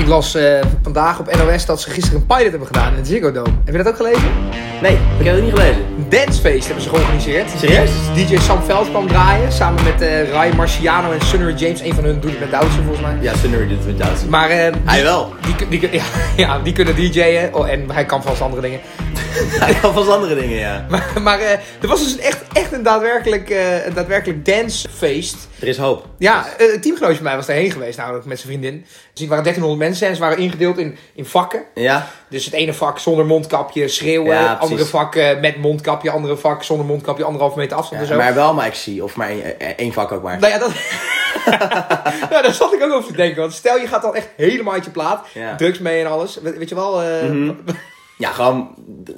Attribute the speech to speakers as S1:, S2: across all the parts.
S1: Ik las eh, vandaag op NOS dat ze gisteren een pilot hebben gedaan in het Ziggo Dome. Heb je dat ook gelezen?
S2: Nee, ik heb het niet gelezen.
S1: Een dancefeest hebben ze georganiseerd.
S2: Serieus?
S1: DJ Sam Veld kwam draaien samen met eh Rai Marciano en Sunnery James. Een van hun doet het met Doutzen volgens mij.
S2: Ja, Sunnery doet het met Doutzen.
S1: Maar eh,
S2: Hij wel.
S1: die, kun- die, kun- ja, ja, die kunnen DJ'en oh, en hij kan vast andere dingen.
S2: Hij kan vast andere dingen, ja.
S1: Maar, maar eh, er was dus een echt, echt een daadwerkelijk, eh, een daadwerkelijk dancefeest.
S2: Er is hoop.
S1: Ja, eh, een teamgenootje van mij was daarheen geweest, namelijk met zijn vriendin. Dus er waren 1300 mensen en ze waren ingedeeld in, in vakken.
S2: Ja?
S1: Dus het ene vak zonder mondkapje, schreeuwen.
S2: Ja, precies.
S1: andere vak eh, met mondkapje, andere vak zonder mondkapje, anderhalve meter afstand en zo.
S2: Maar wel maar ik zie. Of maar één- eh, één vak ook maar.
S1: Nou ja, dat... nou, daar zat ik ook over te denken. Want stel, je gaat dan echt helemaal uit je plaat.
S2: Ja. Mhm,
S1: Drugs mee en alles. We- weet je wel... eh,
S2: Ja, gewoon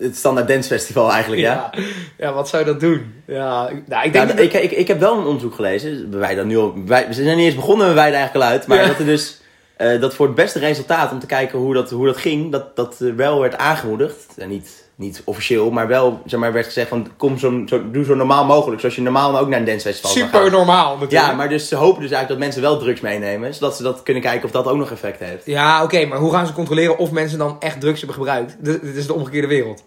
S2: het standaard dancefestival eigenlijk, ja. Nou,
S1: ja. Ja, wat zou je dat doen? Ja, ik- nou, ik
S2: Ja,
S1: denk...
S2: d-
S1: dat-
S2: ik, ik, ik heb wel een onderzoek gelezen. Wij dat nu al, wij, we zijn niet eens begonnen, we wijden eigenlijk al uit. Maar
S1: Ja.
S2: dat er dus eh, dat voor het beste resultaat, om te kijken hoe dat, hoe dat ging, dat, dat eh, wel werd aangemoedigd. En niet, niet officieel, maar wel zeg maar, werd gezegd van kom zo, zo, doe zo normaal mogelijk. Zoals je normaal ook naar een dancefestival zou
S1: Super
S2: gaan.
S1: normaal natuurlijk.
S2: Ja, maar dus ze hopen dus eigenlijk dat mensen wel drugs meenemen. Zodat ze dat kunnen kijken of dat ook nog effect heeft.
S1: Ja, oké, maar hoe gaan ze controleren of mensen dan echt drugs hebben gebruikt? Dit dit is de omgekeerde wereld.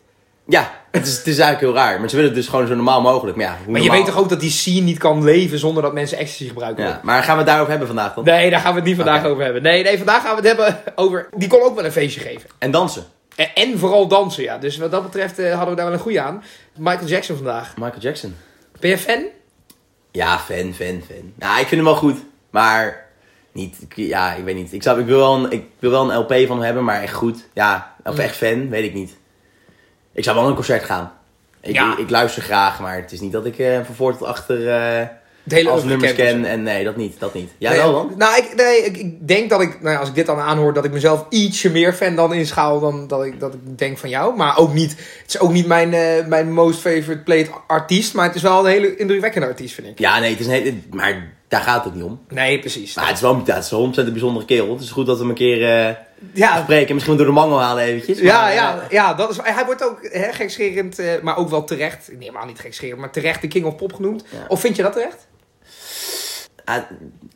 S2: Ja, het is, het is eigenlijk heel raar. Maar ze willen het dus gewoon zo normaal mogelijk. Maar, ja, hoe
S1: Maar je
S2: normaal-
S1: weet toch ook dat die scene niet kan leven zonder dat mensen ecstasy gebruiken?
S2: Ja, maar gaan we het daarover hebben vandaag dan?
S1: Nee, daar gaan we het niet vandaag
S2: Oké.
S1: over hebben. Nee, nee, vandaag gaan we het hebben over... Die kon ook wel een feestje geven.
S2: En dansen.
S1: En, en vooral dansen, ja. Dus wat dat betreft eh, hadden we daar wel een goede aan. Michael Jackson vandaag.
S2: Michael Jackson.
S1: Ben je fan?
S2: Ja, fan, fan, fan. Nou, ik vind hem wel goed. Maar niet, ik- ja, ik weet niet. Ik, zou, ik, wil wel een, ik wil wel een LP van hem hebben, maar echt goed. Ja, of
S1: Mm.
S2: echt fan, weet ik niet. Ik zou wel naar een concert gaan. Ik,
S1: Ja.
S2: ik, ik luister graag, maar het is niet dat ik eh, van voor tot achter eh
S1: Het hele
S2: als
S1: open
S2: nummers
S1: campus.
S2: ken. En nee, dat niet, dat niet. Jij
S1: Nee,
S2: wel dan?
S1: Nou, ik, nee, ik, ik denk dat ik, nou ja, als ik dit dan aanhoor, dat ik mezelf ietsje meer fan dan inschaal dan dat ik, dat ik denk van jou. Maar ook niet, het is ook niet mijn, eh, mijn most favorite played artiest, maar het is wel een hele indrukwekkende artiest, vind ik.
S2: Ja, nee, het is nee, het- maar daar gaat het niet om.
S1: Nee, precies.
S2: Maar het is wel ja, het is wel een ontzettend bijzondere kerel. Het is goed dat we hem een keer eh
S1: Ja,
S2: spreken. Misschien door de mangel halen eventjes.
S1: Ja,
S2: maar,
S1: ja,
S2: eh,
S1: ja, dat is, hij wordt ook hè, gekscherend, eh, maar ook wel terecht. Nee, maar niet gekscherend, maar terecht de King of Pop genoemd.
S2: Ja.
S1: Of vind je dat terecht?
S2: Ah,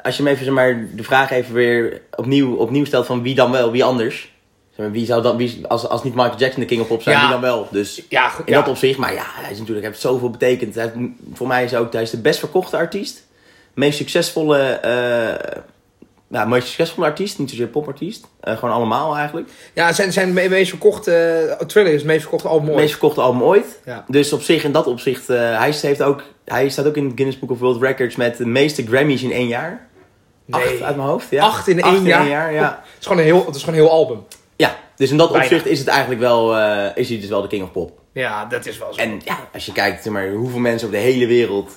S2: als je hem even zeg maar, de vraag even weer opnieuw, opnieuw stelt van wie dan wel, wie anders. Zeg maar, wie zou dan, wie, als, als niet Michael Jackson de King of Pop zijn,
S1: Ja.
S2: wie dan wel? Dus in
S1: Ja, goed.
S2: dat opzicht, maar ja, hij is natuurlijk, hij heeft zoveel betekend. Hij heeft- voor mij is hij ook, hij is de best verkochte artiest. Meest succesvolle, eh nou, meest succesvolle artiest, niet zozeer popartiest. Eh, gewoon allemaal eigenlijk.
S1: ja zijn, zijn me- meest verkochte, eh, Thriller is het meest verkochte album ooit.
S2: Meest verkochte album ooit.
S1: Ja.
S2: Dus op zich, in dat opzicht, eh, hij, heeft ook, hij staat ook in het Guinness Book of World Records met de meeste Grammys in één jaar.
S1: Nee.
S2: Acht uit mijn hoofd, ja.
S1: Acht in één jaar?
S2: ja.
S1: Het is gewoon een heel, het is gewoon een heel album.
S2: Ja, dus in dat
S1: Bijna.
S2: opzicht is het eigenlijk wel, eh, is hij dus wel de king of pop.
S1: Ja, dat is wel zo.
S2: En ja, als je kijkt zeg maar, hoeveel mensen op de hele wereld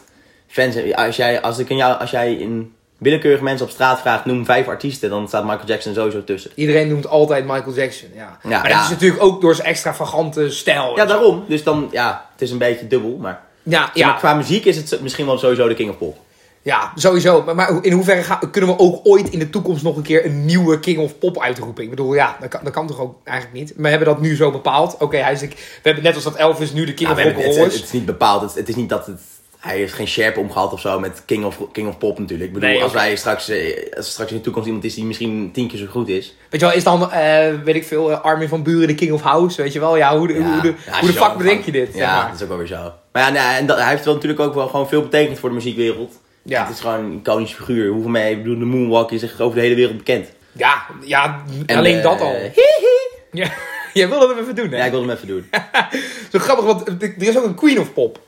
S2: fans zijn. Als jij, als ik aan jou, als jij een willekeurige mensen op straat vraagt, noem vijf artiesten, dan staat Michael Jackson sowieso tussen.
S1: Iedereen noemt altijd Michael Jackson, ja.
S2: Ja,
S1: maar
S2: ja.
S1: dat is natuurlijk ook door zijn extravagante stijl.
S2: Ja, daarom. Dus dan, ja, het is een beetje dubbel, maar,
S1: Ja,
S2: ja.
S1: ja,
S2: qua muziek is het misschien wel sowieso de king of pop.
S1: ja, sowieso. Maar, maar in hoeverre gaan- kunnen we ook ooit in de toekomst nog een keer een nieuwe King of Pop uitroepen? Ik bedoel, ja, dat kan, dat kan toch ook eigenlijk niet? We hebben dat nu zo bepaald. Oké, hij is de, we hebben net als dat Elvis nu de King
S2: Ja,
S1: of
S2: we
S1: Rock
S2: hebben-
S1: and
S2: het,
S1: Roll
S2: het,
S1: is.
S2: het is niet bepaald. Het, het is niet dat het, hij heeft geen sherp omgehad of zo met king of, king of pop natuurlijk. Ik bedoel,
S1: Nee,
S2: als
S1: oké.
S2: wij straks, eh, als er straks in de toekomst iemand is die misschien tien keer zo goed is,
S1: Weet je wel, is dan, eh, weet ik veel, eh, Armin van Buren de King of House? Weet je wel, ja, hoe de, hoe de,
S2: Ja,
S1: hoe de
S2: als je
S1: fuck
S2: zo
S1: bedenk
S2: gaat-
S1: je dit?
S2: Ja,
S1: zeg maar?
S2: dat is ook wel weer zo. Maar ja, nee, en dat, hij heeft wel natuurlijk ook wel gewoon veel betekend voor de muziekwereld.
S1: Ja.
S2: Het is gewoon een iconische figuur. Hoeveel mee, ik bedoel, de Moonwalk is echt over de hele wereld bekend.
S1: ja, ja
S2: En,
S1: alleen
S2: eh,
S1: dat al. Ja, jij wilde hem even doen, hè?
S2: Ja, ik wilde hem even doen.
S1: Zo grappig, want er er is ook een Queen of Pop.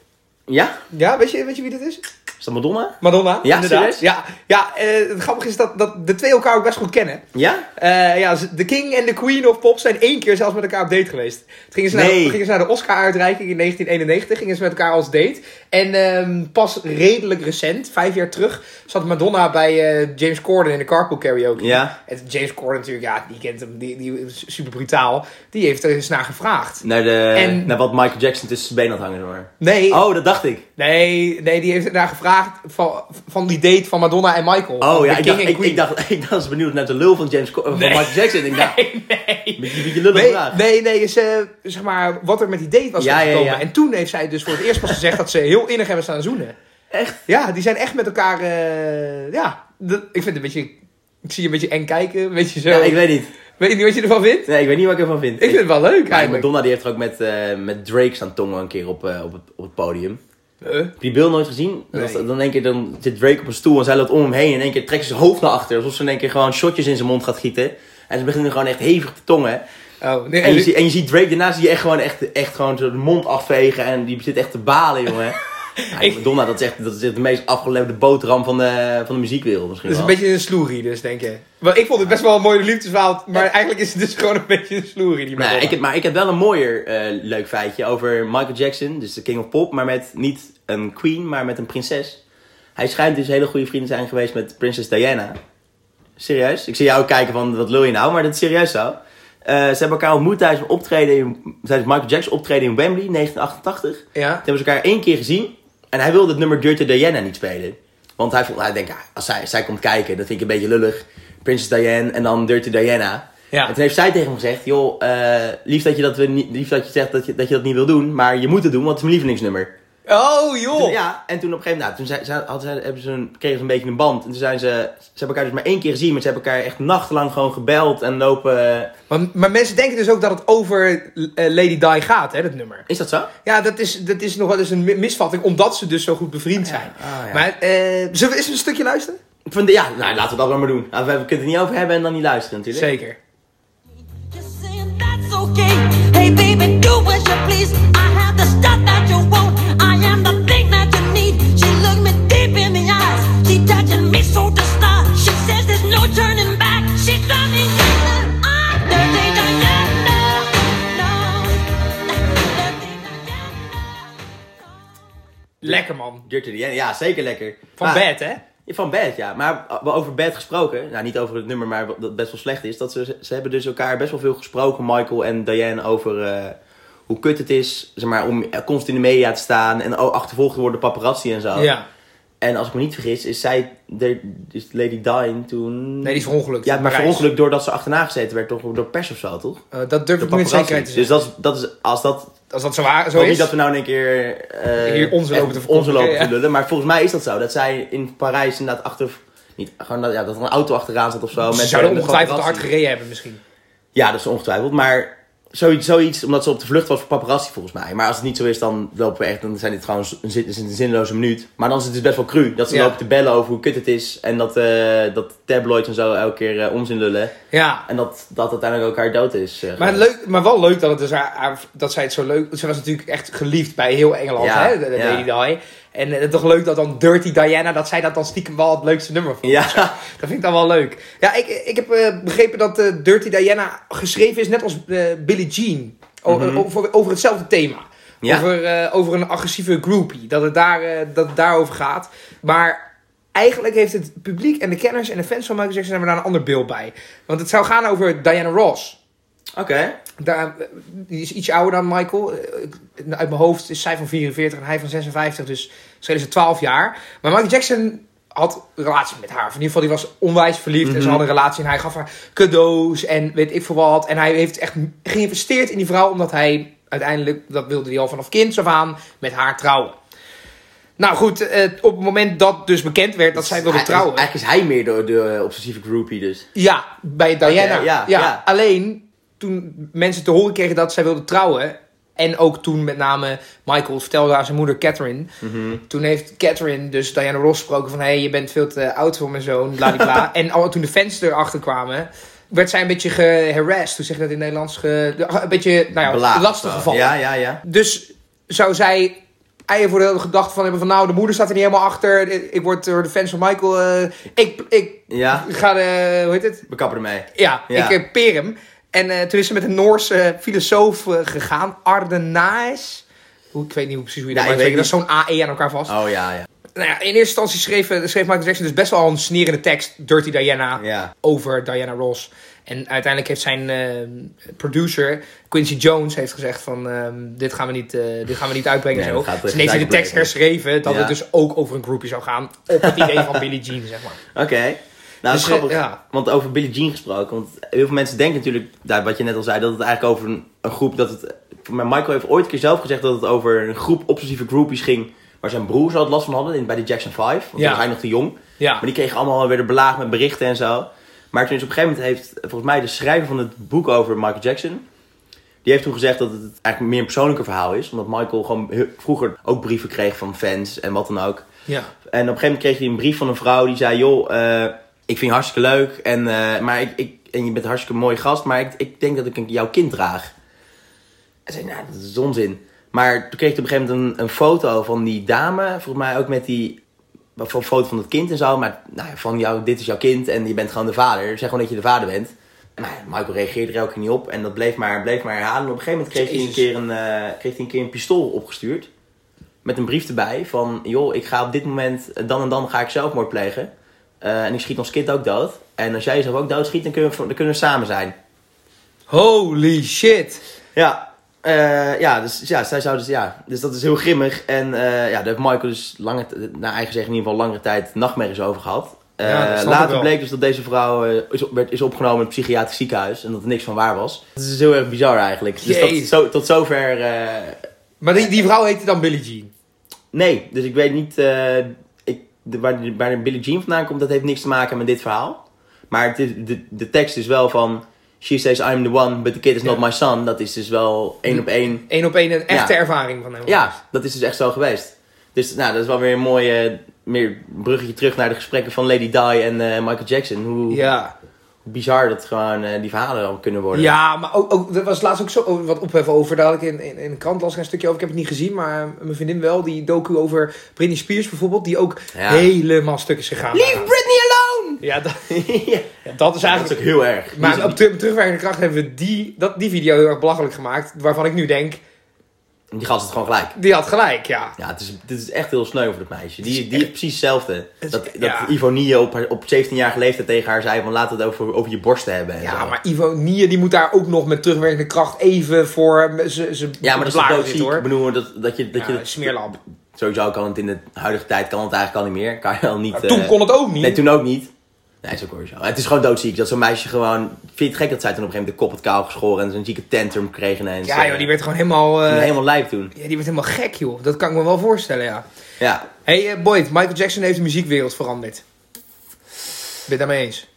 S2: ja?
S1: Ja, weet je, weet je wie dat is?
S2: Is dat Madonna?
S1: Madonna,
S2: Ja,
S1: inderdaad.
S2: serieus?
S1: Ja, ja eh, het grappige is dat, dat de twee elkaar ook best goed kennen.
S2: Ja?
S1: Eh, ja, ze- de King en de Queen of Pop zijn één keer zelfs met elkaar op date geweest. Het gingen ze, naar,
S2: Nee.
S1: gingen ze naar de Oscar-uitreiking in 1991, gingen ze met elkaar als date. En ehm, pas redelijk recent, vijf jaar terug, zat Madonna bij eh, James Corden in de carpool karaoke.
S2: Ja.
S1: En James Corden natuurlijk, ja, die kent hem, die, die is super brutaal. Die heeft er eens naar gevraagd.
S2: Naar, de,
S1: En-
S2: naar wat Michael Jackson tussen zijn benen had hangen. Hoor.
S1: Nee,
S2: Oh, dat dacht ik.
S1: nee, nee, die heeft er naar gevraagd van, van die date van Madonna en Michael.
S2: Oh
S1: Van
S2: ja,
S1: de
S2: ik
S1: King
S2: dacht,
S1: en
S2: ik,
S1: Queen.
S2: ik dacht, ik was benieuwd naar de lul van, James, Co- van
S1: Nee.
S2: Michael Jackson. Ik dacht,
S1: nee.
S2: beetje, beetje lullig
S1: Nee,
S2: vraag.
S1: nee, nee, is, eh, zeg maar wat er met die date was
S2: Ja, ja,
S1: gekomen.
S2: ja.
S1: En toen heeft zij dus voor het eerst pas gezegd dat ze heel innig hebben staan zoenen.
S2: Echt?
S1: Ja, die zijn echt met elkaar, eh, ja, dat- ik vind het een beetje, ik zie je een beetje eng kijken, weet je zo.
S2: Ja, ik weet niet.
S1: Weet je niet wat je ervan vindt?
S2: Nee, ik weet niet wat ik ervan vind.
S1: Ik vind het wel leuk
S2: Maar
S1: eigenlijk.
S2: Madonna die heeft er ook met, eh, met Drake staan tongen een keer op, eh, op, het, op het podium.
S1: Eh,
S2: Heb je Bill nooit gezien?
S1: Nee.
S2: Dat- Dan, in één keer, dan zit Drake op een stoel en zij loopt om hem heen. En in één keer trekt ze zijn hoofd naar achter. Alsof ze in één keer gewoon shotjes in zijn mond gaat gieten. En ze beginnen gewoon echt hevig te tongen.
S1: Oh, nee,
S2: En je,
S1: en-
S2: ziet- en je ziet Drake daarna zie je echt gewoon, echt, echt gewoon zo de mond afvegen. En die zit echt te balen, jongen. Ja, Madonna, dat is echt, dat is echt de meest afgeleverde boterham van de, van de muziekwereld misschien
S1: dat is een
S2: wel.
S1: beetje een sloerie dus, denk je. Maar ik vond het best wel een mooie liefdesverhaal. Maar eigenlijk is het dus gewoon een beetje een sloerie die
S2: Nee,
S1: Madonna.
S2: Nou ik heb, maar ik heb wel een mooier eh, leuk feitje over Michael Jackson, dus de King of Pop, maar met niet een queen, maar met een prinses. Hij schijnt dus hele goede vrienden te zijn geweest met prinses Diana. Serieus? Ik zie jou kijken van, wat lul je nou? Maar dat is serieus zo. Eh, ze hebben elkaar ontmoet tijdens, een optreden in, tijdens Michael Jackson optreden in Wembley, 1988.
S1: Ja?
S2: Toen hebben ze elkaar één keer gezien. En hij wilde het nummer Dirty Diana niet spelen. Want hij, vond, hij denkt, ja, als zij, zij komt kijken, dat vind ik een beetje lullig. Princess Diane en dan Dirty Diana.
S1: Ja.
S2: En toen heeft zij tegen hem gezegd, joh, eh, lief, dat je dat, we niet, lief dat je zegt dat je, dat je dat niet wil doen. Maar je moet het doen, want het is mijn lievelingsnummer.
S1: Oh, joh!
S2: Ja, en toen op een gegeven moment, nou, toen zei, ze- had, ze- hebben ze een, kregen ze een beetje een band. En toen zijn ze, ze hebben elkaar dus maar één keer gezien. Maar ze hebben elkaar echt nachtenlang gewoon gebeld en lopen... eh,
S1: Maar, maar mensen denken dus ook dat het over eh, Lady Di gaat, hè, dat nummer.
S2: Is dat zo?
S1: Ja, dat is, dat is nog wel eens een mi- misvatting, omdat ze dus zo goed bevriend zijn.
S2: Ah, ja.
S1: Maar, eh, zullen we eens een stukje luisteren?
S2: Van de- ja, nou, laten we dat maar maar doen. Nou, we, we kunnen het er niet over hebben en dan niet luisteren natuurlijk.
S1: Zeker.
S3: Just saying that's okay. Hey, baby, do as you please. I have the stuff that you want. I am the thing that you need. She looked me deep in the eyes. She touching me so to start. She says there's no turning back. She's loving me. I'm dirty Diana. No, dirty Diana.
S1: Lekker, man.
S2: Dirty Diana, ja, zeker lekker.
S1: Van
S2: Maar-
S1: bed, hè?
S2: Ja, Van Bad, ja. Maar over Bad gesproken, nou niet over het nummer, maar wat best wel slecht is, dat ze, ze hebben dus elkaar best wel veel gesproken, Michael en Diane, over eh, hoe kut het is, zeg maar, om eh, constant in de media te staan en oh, achtervolgd te worden, paparazzi en zo.
S1: Ja.
S2: En als ik me niet vergis, is zij, de, is Lady Diane toen...
S1: Nee, die is verongelukt.
S2: Ja, maar
S1: Parijs.
S2: verongelukt doordat ze achterna gezeten werd toch, door pers of zo, toch?
S1: Eh, dat durf
S2: Door
S1: ik niet met
S2: paparazzi.
S1: zekerheid te
S2: Dus
S1: zeggen.
S2: dat is, dat is als dat
S1: Als dat zo, waar, zo
S2: ik hoop
S1: is.
S2: niet dat we nou in een keer... eh,
S1: Hier onze
S2: echt
S1: lopen te
S2: onze lopen
S1: verkondigen,
S2: te lullen. Maar volgens mij is dat zo. Dat zij in Parijs inderdaad achter... Niet, gewoon dat, ja, dat er een auto achteraan zat of zo.
S1: Ze
S2: met-
S1: zouden
S2: met
S1: ongetwijfeld hard
S2: paparazzi.
S1: gereden hebben, misschien.
S2: Ja, dat is ongetwijfeld. Maar zoiets, zoiets, omdat ze op de vlucht was voor paparazzi volgens mij. Maar als het niet zo is, dan lopen we echt... Dan zijn dit gewoon een, zin- is het een zinloze minuut. Maar dan is het dus best wel cru. Dat ze
S1: Ja.
S2: lopen te bellen over hoe kut het is. En dat, eh, dat tabloids en zo elke keer eh, onzin lullen.
S1: Ja.
S2: En dat, dat uiteindelijk elkaar dood is. eh,
S1: Maar, leuk, maar wel leuk dat, het dus haar- haar- dat zij het zo leuk... Ze was natuurlijk echt geliefd bij heel Engeland,
S2: Ja,
S1: hè? de- de
S2: ja.
S1: Lady Di. En eh, toch leuk dat dan Dirty Diana... dat zij dat dan stiekem wel het leukste nummer vond.
S2: Ja.
S1: Dat vind ik dan wel leuk. Ja, ik, ik heb eh, begrepen dat eh, Dirty Diana geschreven is net als eh, Billie Jean. O- eh, over, over hetzelfde thema.
S2: Ja.
S1: Over, eh, over een agressieve groupie. Dat het, daar, eh, dat het daarover gaat. Maar eigenlijk heeft het publiek en de kenners en de fans van Michael Jackson... hebben daar een ander beeld bij. Want het zou gaan over Diana Ross.
S2: Oké.
S1: Daar, eh, die is iets ouder dan Michael. Eh, ik- Uit mijn hoofd is zij van 44 en hij van 56. Dus schelen ze 12 jaar. Maar Michael Jackson had een relatie met haar. Of in ieder geval, die was onwijs verliefd. En
S2: Mhm.
S1: ze hadden een relatie. En hij gaf haar cadeaus en weet ik veel wat. En hij heeft echt geïnvesteerd in die vrouw. Omdat hij uiteindelijk, dat wilde hij al vanaf kinds af aan, met haar trouwen. Nou goed, eh, op het moment dat dus bekend werd dat zij wilde
S2: Hij-
S1: trouwen.
S2: Eigenlijk is hij meer de, de obsessieve groupie dus.
S1: Ja, bij Diana.
S2: Oké,
S1: ja,
S2: ja, ja.
S1: Alleen toen mensen te horen kregen dat zij wilde trouwen. En ook toen met name Michael het vertelde aan zijn moeder Catherine.
S2: Mhm.
S1: Toen heeft Catherine dus Diana Ross gesproken van... hé, hey, je bent veel te oud voor mijn zoon, bladibla. en al, toen de fans erachter kwamen, werd zij een beetje geharrassed. Hoe zeg je dat in het Nederlands? Ge, een beetje, nou ja,
S2: Belaagd
S1: lastig
S2: of zo.
S1: gevallen.
S2: Ja, ja, ja.
S1: Dus zou zij eieren voor de gedachte van hebben van... nou, de moeder staat er niet helemaal achter. Ik word door de fans van Michael... eh, ik, ik
S2: Ja,
S1: ga de... hoe heet het?
S2: we kappen ermee.
S1: Ja,
S2: Ja.
S1: ik eh, peer hem. En eh, toen is ze met een Noorse eh, filosoof eh, gegaan, Ardenaes. Hoe, ik weet niet hoe precies hoe je
S2: Ja,
S1: dat
S2: ik
S1: uitspreekt.
S2: weet
S1: Dat is zo'n AE aan elkaar vast.
S2: Oh ja, ja.
S1: Nou ja, in eerste instantie schreef, eh, schreef Michael Jackson dus best wel een snerende tekst, Dirty Diana,
S2: Ja.
S1: over Diana Ross. En uiteindelijk heeft zijn eh, producer, Quincy Jones, heeft gezegd van ehm, dit, gaan we niet, eh, dit gaan we niet uitbrengen.
S2: Nee,
S1: zo.
S2: dat gaat
S1: Dus ineens heeft hij de tekst
S2: blijven.
S1: herschreven dat
S2: Ja.
S1: het dus ook over een groepje zou gaan. Op het idee van Billie Jean, zeg maar.
S2: Oké. Nou, dat
S1: Dus,
S2: is grappig.
S1: eh, ja.
S2: Want over Billie Jean gesproken. Want heel veel mensen denken natuurlijk, daar, wat je net al zei, dat het eigenlijk over een, een groep. Dat het, maar Michael heeft ooit een keer zelf gezegd dat het over een groep obsessieve groupies ging. Waar zijn broers al het last van hadden in, bij de Jackson 5. Want
S1: Ja.
S2: toen was hij nog te jong.
S1: Ja.
S2: Maar die kregen allemaal weer de belaag met berichten en zo. Maar toen is op een gegeven moment heeft, volgens mij, de schrijver van het boek over Michael Jackson. Die heeft toen gezegd dat het eigenlijk meer een persoonlijker verhaal is. Omdat Michael gewoon heel- vroeger ook brieven kreeg van fans en wat dan ook.
S1: Ja.
S2: En op een gegeven moment kreeg hij een brief van een vrouw die zei: Joh, eh, ik vind je hartstikke leuk. En, eh, maar ik, ik, en je bent een hartstikke mooi gast. Maar ik, ik denk dat ik een- jouw kind draag. En zei: Nou, dat is onzin. Maar toen kreeg ik op een gegeven moment een, een foto van die dame. Volgens mij ook met die. Van een foto van het kind en zo. Maar nou, ja, van jou, dit is jouw kind en je bent gewoon de vader. Zeg gewoon dat je de vader bent. Nou, ja, Michael reageerde er elke keer niet op. En dat bleef maar, bleef maar herhalen. En op een gegeven moment kreeg hij, een
S1: Jezus.
S2: keer een, eh, kreeg hij een keer een pistool opgestuurd met een brief erbij van... joh, ik ga op dit moment, eh, dan en dan ga ik zelfmoord plegen. Eh, en ik schiet ons kind ook dood. En als jij jezelf ook doodschiet, dan kunnen we, dan kunnen we samen zijn.
S1: Holy shit.
S2: Ja, eh, ja, dus, ja, zij zou dus, ja, dus dat is heel grimmig. En eh, ja, daar heeft Michael dus lange, t- naar eigen zeggen in ieder geval langere tijd nachtmerries over gehad. Eh,
S1: Ja, dat snap ik
S2: later
S1: wel.
S2: bleek dus dat deze vrouw eh, is, op- werd, is opgenomen in het psychiatrisch ziekenhuis en dat er niks van waar was. Dat is dus heel erg bizar eigenlijk. Dus dat,
S1: Jezus.
S2: zo, tot zover eh,
S1: Maar die, die vrouw heette dan Billie Jean.
S2: Nee, dus ik weet niet eh, ik, de, waar, de- waar Billie Jean vandaan komt. Dat heeft niks te maken met dit verhaal. Maar het is, de, de tekst is wel van... She says I'm the one, but the kid is not
S1: Ja.
S2: my son. Dat is dus wel één op één.
S1: Eén op één een echte
S2: Ja.
S1: ervaring van hem.
S2: Ja, dat is dus echt zo geweest. Dus nou, dat is wel weer een mooi eh, meer bruggetje terug naar de gesprekken van Lady Di en eh, Michael Jackson. Hoe
S1: Ja.
S2: bizar dat gewoon eh, die verhalen dan kunnen worden.
S1: Ja, maar ook, ook, er was laatst ook zo oh, wat ophef over. Daar had ik in, in, in de krant las ik een stukje over. Ik heb het niet gezien, maar eh, mijn vriendin wel. Die docu over Britney Spears bijvoorbeeld. Die ook
S2: Ja.
S1: helemaal stuk is gegaan.
S2: Leave Britney alone!
S1: Ja, dat,
S2: ja,
S1: dat is
S2: dat is ook
S1: eigenlijk...
S2: heel erg. Die is-
S1: Maar op ter- op terugwerkende kracht hebben we die, dat, die video heel erg belachelijk gemaakt. Waarvan ik nu denk,
S2: die gast het gewoon gelijk.
S1: die had gelijk, ja.
S2: Ja, het is, dit is echt heel sneu voor dat meisje. Die, die is precies hetzelfde.
S1: is-
S2: Dat, dat
S1: ja.
S2: Ivonie op, haar- op 17-jarige leeftijd tegen haar zei van laten we het over, over je borsten hebben. En
S1: Ja,
S2: zo.
S1: maar Ivo Nier die moet daar ook nog met terugwerkende kracht even voor zijn
S2: ja, maar dat is toch doodziek. Ik bedoel, dat, dat je... Dat
S1: Ja,
S2: je dat,
S1: smeerlap.
S2: Sowieso kan het in de huidige tijd kan het eigenlijk al niet meer. Kan je al niet... eh,
S1: Toen kon het ook niet.
S2: Nee, toen ook niet. Nee, is ook hoor zo. Het is gewoon doodziek. Dat zo'n meisje gewoon... Vind je het gek dat zij toen op een gegeven moment de kop had kaal geschoren en zo'n zieke tantrum kreeg ineens.
S1: ja,
S2: eh,
S1: joh, die werd gewoon helemaal, eh,
S2: helemaal lijp toen.
S1: ja, die werd helemaal gek, joh. Dat kan ik me wel voorstellen, ja.
S2: Ja.
S1: Hé, hey, eh, Boyd, Michael Jackson heeft de muziekwereld veranderd. Ben je het daarmee eens?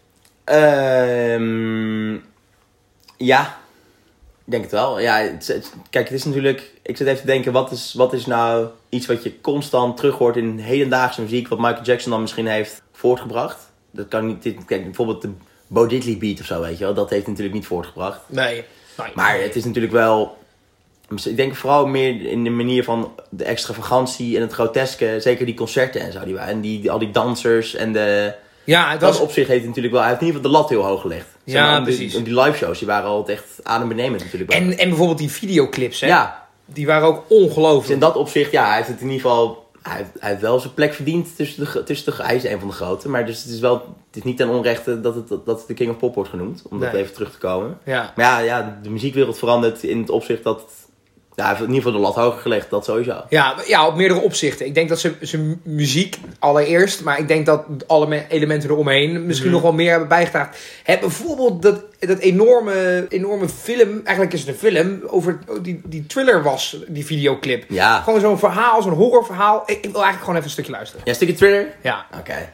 S2: Ehm ja, ik denk het wel. Ja, het- het- kijk, het is natuurlijk... Ik zit even te denken, wat is, wat is nou iets wat je constant terug hoort in hedendaagse muziek... wat Michael Jackson dan misschien heeft voortgebracht? Dat kan niet... dit- Kijk, bijvoorbeeld de Bo Diddley beat of zo, weet je wel. Dat heeft natuurlijk niet voortgebracht.
S1: Nee. Nee.
S2: Maar het is natuurlijk wel... Ik denk vooral meer in de manier van de extravagantie en het groteske. Zeker die concerten en zo. Die, en die, die- al die dansers en de...
S1: ja, het
S2: Dat
S1: was...
S2: is op zich heeft hij natuurlijk wel. Hij heeft in ieder geval de lat heel hoog gelegd.
S1: Ja,
S2: maar om die-
S1: precies.
S2: om Die, live shows die waren altijd echt adembenemend natuurlijk. wel.
S1: En, en bijvoorbeeld die videoclips, hè?
S2: ja,
S1: Die waren ook
S2: dus in
S1: ongelooflijk.
S2: dat opzicht, ja, hij heeft het in ieder geval. Hij heeft, hij heeft wel zijn plek verdiend tussen de, gro- tussen de. Hij is een van de grote. Maar dus het is wel. Het is niet ten onrechte dat het, dat het de King of Pop wordt genoemd. Om dat
S1: Nee.
S2: even terug te komen.
S1: Ja.
S2: Maar ja, ja, de muziekwereld verandert in het opzicht dat. Ja, hij heeft in ieder geval de lat hoger gelegd. Dat sowieso.
S1: Ja, maar- ja, op meerdere opzichten. Ik denk dat ze, ze mu- muziek allereerst, maar ik denk dat alle me- elementen eromheen misschien nog wel meer hebben bijgedragen. Hè, bijvoorbeeld dat, dat enorme, enorme film, eigenlijk is het een film, over oh, die, die thriller was, die videoclip.
S2: Ja.
S1: Gewoon zo'n verhaal, zo'n horrorverhaal. Ik, ik wil eigenlijk gewoon even een stukje luisteren.
S2: Ja, stukje thriller?
S1: Ja.
S2: Oké.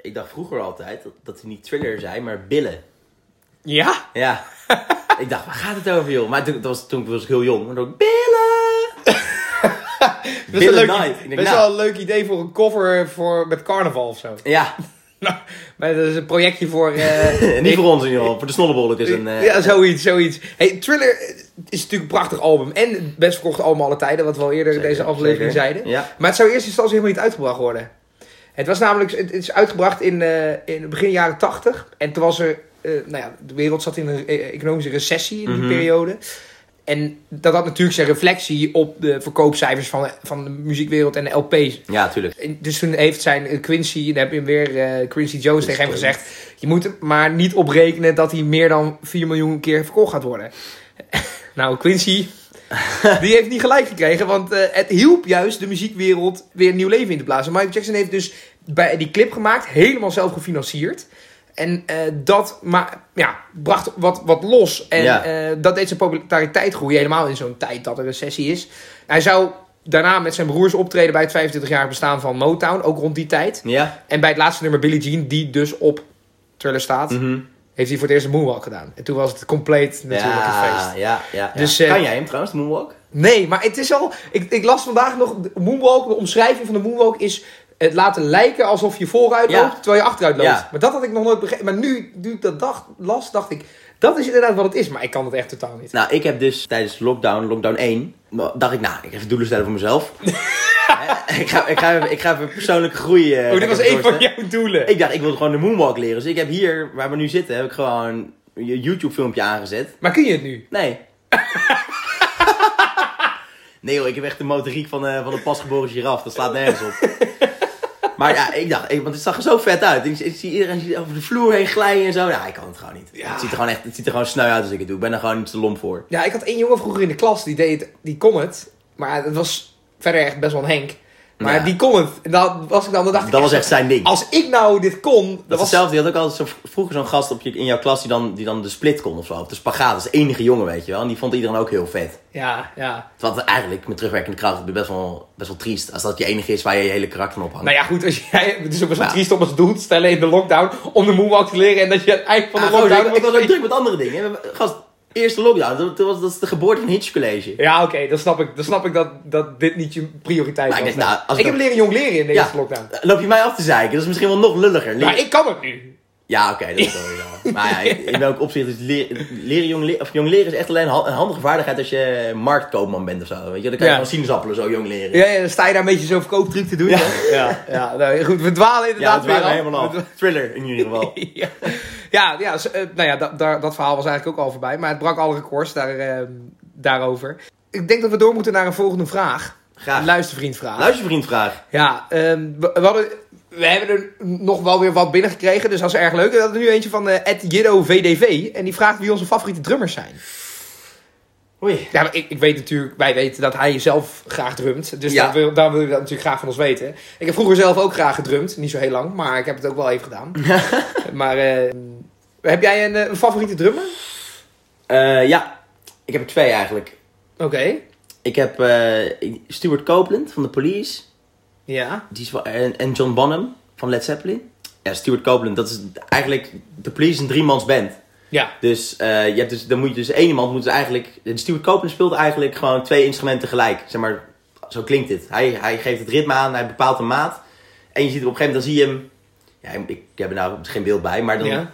S2: Ik dacht vroeger altijd dat, dat hij niet thriller zei, maar billen.
S1: Ja?
S2: Ja. ik dacht, waar gaat het over, joh? Maar toen, dat was, toen was ik heel jong. Maar toen dacht ik, billen!
S1: Best, wel
S2: Billie
S1: een leuk,
S2: Knight. Ik denk,
S1: best
S2: nou.
S1: wel een leuk idee voor een cover voor, met carnaval of zo.
S2: Ja,
S1: Nou, maar dat is een projectje voor... eh,
S2: niet voor ons in ieder geval. Voor de snollebolk is een... eh,
S1: ja, zoiets, zoiets. Hey, Thriller eh, is natuurlijk een prachtig album. En het best verkochte album alle tijden, wat we al eerder
S2: Zeker,
S1: in deze aflevering
S2: zeker.
S1: zeiden.
S2: Ja.
S1: Maar het zou in eerste instantie helemaal niet uitgebracht worden. Het was namelijk, het is uitgebracht in, eh, in begin jaren tachtig. En toen was er, eh, nou ja, de wereld zat in een eh, economische recessie in die
S2: Mhm.
S1: periode. En dat had natuurlijk zijn reflectie op de verkoopcijfers van, van de muziekwereld en de LP's.
S2: Ja, tuurlijk.
S1: En Dus toen heeft zijn eh, Quincy, daar heb je hem weer eh, Quincy Jones tegen hem gezegd. Je moet er maar niet op rekenen dat hij meer dan 4 miljoen keer verkocht gaat worden. nou, Quincy, Die heeft niet gelijk gekregen, want eh, het hielp juist de muziekwereld weer nieuw leven in te blazen. Michael Jackson heeft dus bij die clip gemaakt, helemaal zelf gefinancierd. En eh, dat maar, ja, bracht wat, wat los. En
S2: Ja.
S1: eh, dat deed zijn populariteit groeien, helemaal in zo'n tijd dat er recessie is. Hij zou daarna met zijn broers optreden bij het 25-jarig bestaan van Motown, ook rond die tijd.
S2: Ja?
S1: En bij het laatste nummer Billie Jean, die dus op Thriller staat,
S2: Mhm.
S1: heeft hij voor het eerst een moonwalk gedaan. En toen was het compleet natuurlijk een feest.
S2: Ja, ja, ja.
S1: Dus,
S2: Dus,
S1: eh,
S2: kan jij hem trouwens, de moonwalk?
S1: Nee, maar het is al. Ik, ik las vandaag nog. de Moonwalk, de omschrijving van de Moonwalk is. Het laten lijken alsof je vooruit
S2: Ja.
S1: loopt terwijl je achteruit loopt.
S2: Ja.
S1: Maar dat had ik nog nooit begrepen. Maar nu, nu ik dat dacht, las, dacht ik. Dat is inderdaad wat het is. Maar ik kan het echt totaal niet.
S2: Nou, ik heb dus tijdens lockdown, lockdown 1, dacht ik, nou, ik ga even doelen stellen voor mezelf. Hè? ik, ga, ik, ga even, ik ga even persoonlijke groei. eh,
S1: oh, dit was
S2: even
S1: één van
S2: doorzetten.
S1: jouw doelen.
S2: Ik dacht, ik wil gewoon de moonwalk leren. Dus ik heb hier, waar we nu zitten, heb ik gewoon een YouTube-filmpje aangezet.
S1: Maar kun je het nu?
S2: Nee. nee hoor, ik heb echt de motoriek van, eh van een pasgeboren giraf. Dat slaat nergens op. Maar ja, ik dacht, ik- want het zag er zo vet uit. Ik, ik zie iedereen zie over de vloer heen glijden en zo. Nou, ik kan het gewoon niet.
S1: Ja.
S2: Het, ziet er gewoon echt, het ziet er gewoon sneu uit als ik het doe. Ik ben er gewoon te lomp voor.
S1: Ja, ik had één jongen vroeger in de klas die deed, die kon het. Maar het was verder echt best wel een Henk. Maar
S2: Ja.
S1: die kon het. En dan was ik dan, dan dacht
S2: Dat
S1: ik.
S2: was echt zijn ding.
S1: Als ik nou dit kon, dan
S2: Dat was
S1: was
S2: hetzelfde. Je had ook altijd zo, vroeger zo'n gast op je, in jouw klas die dan, die dan de split kon of zo. Of de spagaat. Dat is de enige jongen, weet je wel. En die vond iedereen ook heel vet.
S1: Ja, ja.
S2: Wat eigenlijk, met terugwerkende kracht, best wel, best wel triest. Als dat je enige is waar je je hele karakter van ophangt.
S1: Nou ja, goed, als jij, het is ook best wel
S2: Ja.
S1: triest om als doel te stellen in de lockdown om de moonwalk te leren en dat je aan het eind van de
S2: Ah, gozer,
S1: lockdown...
S2: ik was wel druk met andere dingen. We hebben- Gast, eerste lockdown. Dat, dat was, dat is de geboorte van Hitch College.
S1: Ja, oké, dan snap ik, dan snap ik dat, dat dit niet je prioriteit
S2: Maar ik
S1: was.
S2: denk, nou, als
S1: ik
S2: ik
S1: heb
S2: ook-
S1: leren jong leren in deze lockdown.
S2: Eh, Loop je mij af te zeiken? Dat is misschien wel nog lulliger. Leer-
S1: Maar ik kan het nu.
S2: Ja, oké, dat is wel weer zo. Maar ja, in in welk opzicht is leer- leren jong, le- of jong leren is echt alleen ha- een handige vaardigheid als je marktkoopman bent of zo. Weet je, dan kan
S1: Ja.
S2: je gewoon sinaasappelen zo jong leren.
S1: Ja, ja, dan sta je daar een beetje zo'n verkooptruc te doen.
S2: Ja.
S1: hè? ja, ja nou, goed, we dwalen
S2: Ja,
S1: inderdaad
S2: het waren
S1: weer af.
S2: helemaal
S1: We
S2: af. Thriller in ieder geval.
S1: ja, ja, ja zo, eh, nou ja, da- daar- dat verhaal was eigenlijk ook al voorbij. Maar het brak alle records daar, eh, daarover. Ik denk dat we door moeten naar een volgende vraag.
S2: Graag.
S1: Een luistervriendvraag.
S2: Luister vriend vraag.
S1: Ja, ehm, we, we hadden, we hebben er nog wel weer wat binnengekregen, dus dat is erg leuk. We hadden nu eentje van eh @jiddo_vdv en die vraagt wie onze favoriete drummers zijn.
S2: Oei.
S1: Ja, maar ik, ik weet natuurlijk, wij weten dat hij zelf graag drumt, dus
S2: Ja.
S1: daar, wil, daar wil je dat natuurlijk graag van ons weten. Ik heb vroeger zelf ook graag gedrumd, niet zo heel lang, maar ik heb het ook wel even gedaan. maar eh, heb jij een, eh, een favoriete drummer?
S2: Eh, ja, ik heb er twee eigenlijk.
S1: Oké,
S2: Ik heb eh, Stuart Copeland van de Police.
S1: ja.
S2: Die is wel- en, en John Bonham van Led Zeppelin. Ja, Stuart Copeland, dat is eigenlijk... The Police is een driemans band.
S1: Ja.
S2: Dus, eh, je hebt dus dan moet je dus één iemand moet dus eigenlijk... Stuart Copeland speelt eigenlijk gewoon twee instrumenten gelijk. Zeg maar, zo klinkt dit. Hij, hij geeft het ritme aan, hij bepaalt een maat. En je ziet op een gegeven moment, dan zie je hem... Ja, ik heb er nou geen beeld bij, maar dan...
S1: Ja.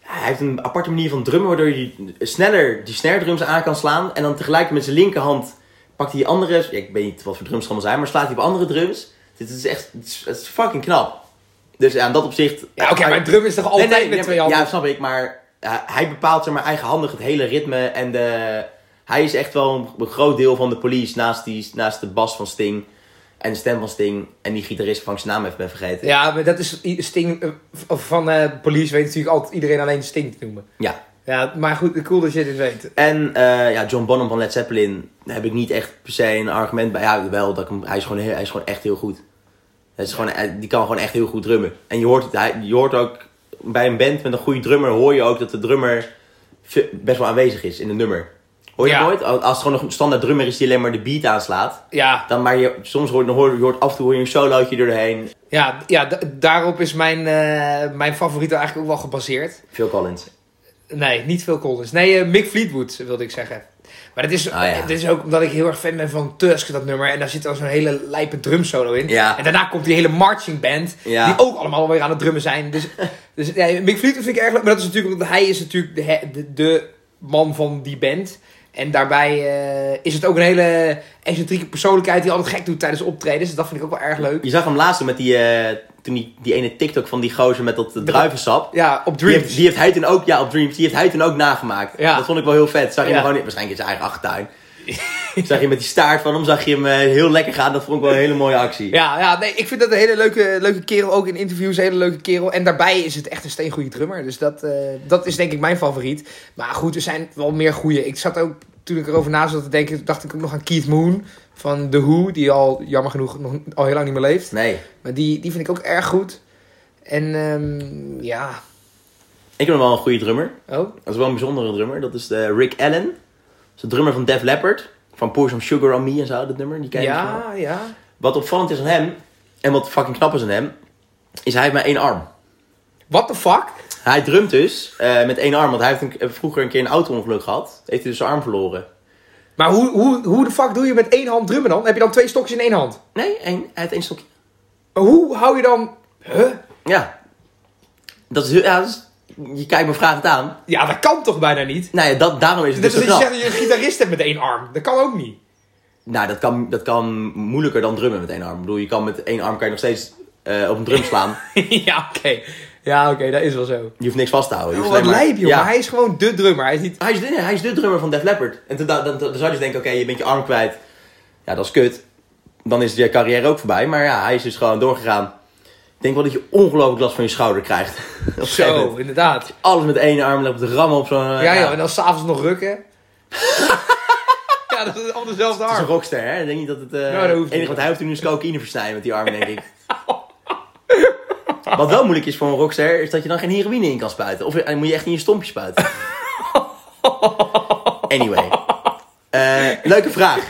S2: Hij heeft een aparte manier van drummen, waardoor hij sneller die snare drums aan kan slaan. En dan tegelijk met zijn linkerhand pakt hij andere. ja, ik weet niet wat voor drums het allemaal zijn, maar slaat hij op andere drums. Dit is echt. Het is, het is fucking knap. Dus ja, in dat opzicht.
S1: Ja, oké, maar drum is toch altijd met twee handen?
S2: Ja, snap ik, maar ja, hij bepaalt zeg maar eigenhandig het hele ritme. En de, hij is echt wel een, een groot deel van de police naast, die, naast de bas van Sting. En de stem van Sting. En die gitarist van ik zijn naam even ben vergeten.
S1: Ja, maar dat is Sting, eh, v- van eh, Police weet natuurlijk altijd iedereen alleen Sting te noemen.
S2: ja.
S1: Ja, maar goed, cool dat je dit weet.
S2: En eh, ja, John Bonham van Led Zeppelin daar heb ik niet echt per se een argument bij. Ja, wel, dat ik hem, hij, is gewoon heel, hij is gewoon echt heel goed. Het is gewoon, hij- die kan gewoon echt heel goed drummen. En je hoort, het, hij, je hoort ook bij een band met een goede drummer, hoor je ook dat de drummer ve- best wel aanwezig is in een nummer. Hoor je
S1: Ja.
S2: het nooit? Oh, Als het gewoon een standaard drummer is die alleen maar de beat aanslaat.
S1: Ja,
S2: Dan maar je, soms hoor je, hoor, je hoort af en toe hoor je een solootje doorheen.
S1: Ja, ja da- daarop is mijn, eh, mijn favoriet eigenlijk ook wel gebaseerd.
S2: Phil Collins.
S1: Nee, niet veel Collins. Nee, eh, Mick Fleetwood wilde ik zeggen. Maar dat is,
S2: Ah, ja.
S1: dit is ook omdat ik heel erg fan ben van Tusk, dat nummer. En daar zit dan zo'n hele lijpe drumsolo in.
S2: Ja.
S1: En daarna komt die hele marching band,
S2: Ja.
S1: die ook allemaal weer aan het drummen zijn. Dus, dus ja, Mick Fleetwood vind ik erg leuk. Maar dat is natuurlijk, omdat hij is natuurlijk de, he- de, de man van die band. En daarbij eh, is het ook een hele excentrieke persoonlijkheid die altijd gek doet tijdens optredens. Dus dat vind ik ook wel erg leuk.
S2: Je zag hem laatst met die, eh, toen die, die ene TikTok van die gozer met dat eh, druivensap.
S1: Ja, op
S2: Die
S1: Dreams.
S2: heeft, die heeft hij toen ook, ja, op Dreams, die heeft hij toen ook nagemaakt.
S1: Ja.
S2: Dat vond ik wel heel vet. Zag je
S1: Ja.
S2: hem gewoon, waarschijnlijk in zijn eigen achtertuin. zag je met die staart van hem, zag je hem eh, heel lekker gaan. Dat vond ik wel een hele mooie actie.
S1: Ja, ja nee, ik vind dat een hele leuke, leuke kerel. Ook in interviews een hele leuke kerel. En daarbij is het echt een steengoede drummer. Dus dat, eh, dat is denk ik mijn favoriet. Maar goed, er zijn wel meer goede. Ik zat ook toen ik erover na zat te denken, dacht ik ook nog aan Keith Moon van The Who, die al jammer genoeg nog al heel lang niet meer leeft.
S2: Nee.
S1: Maar die, die vind ik ook erg goed. En ehm, ja,
S2: Ik vind hem wel een goede drummer.
S1: oh,
S2: Dat is wel een bijzondere drummer. Dat is de Rick Allen. Dat is de drummer van Def Leppard. Van Pour Some Sugar On Me en zo, dat nummer. Die ken je misschien wel.
S1: ja, ja.
S2: Wat opvallend is aan hem, en wat fucking knap is aan hem, is hij heeft maar één arm.
S1: What the fuck?
S2: Hij drumt dus eh, met één arm, want hij heeft een, eh, vroeger een keer een auto-ongeluk gehad. Heeft hij dus zijn arm verloren.
S1: Maar hoe, hoe, hoe de fuck doe je met één hand drummen dan? Heb je dan twee stokjes in één hand?
S2: Nee, één, hij heeft één stokje.
S1: Maar hoe hou je dan... Huh?
S2: Ja. Dat is heel, ja, dat is- je kijkt me vraagt het aan.
S1: Ja, dat kan toch bijna niet?
S2: Nou ja, dat, daarom is het
S1: Dus
S2: dus
S1: dat
S2: zo
S1: je zegt
S2: knap.
S1: dat je een gitarist hebt met één arm. Dat kan ook niet.
S2: Nou, dat kan, dat kan moeilijker dan drummen met één arm. Ik bedoel, je kan met één arm kan je nog steeds eh, op een drum slaan.
S1: ja, oké. Ja, oké, dat is wel zo.
S2: Je hoeft niks vast te houden. Je
S1: Oh,
S2: hoeft
S1: wat
S2: alleen maar-
S1: lijp, joh.
S2: Ja.
S1: Maar hij is gewoon de drummer. Hij is niet...
S2: Hij is, de, hij is de drummer van Def Leppard. En toen da- dan, dan zou je dus denken, oké, je bent je arm kwijt. Ja, dat is kut. Dan is je carrière ook voorbij. Maar ja, hij is dus gewoon doorgegaan. Ik denk wel dat je ongelooflijk last van je schouder krijgt. Op een gegeven
S1: Zo,
S2: moment.
S1: inderdaad.
S2: Alles met één arm loopt te rammen op zo'n...
S1: Ja,
S2: eh,
S1: ja, en
S2: Het
S1: dan s'avonds nog rukken. ja, dat is allemaal dezelfde
S2: is een
S1: arm. Nou,
S2: rockster, hè? Ik denk niet dat het... eh
S1: dat hoeft
S2: het enige
S1: niet.
S2: wat hij hoeft te doen is cocaïne versnijden met die arm, denk ik. Wat wel moeilijk is voor een rockster, is dat je dan geen heroïne in kan spuiten. Of eh, dan moet je echt in je stompje spuiten. Anyway. Eh, leuke vraag.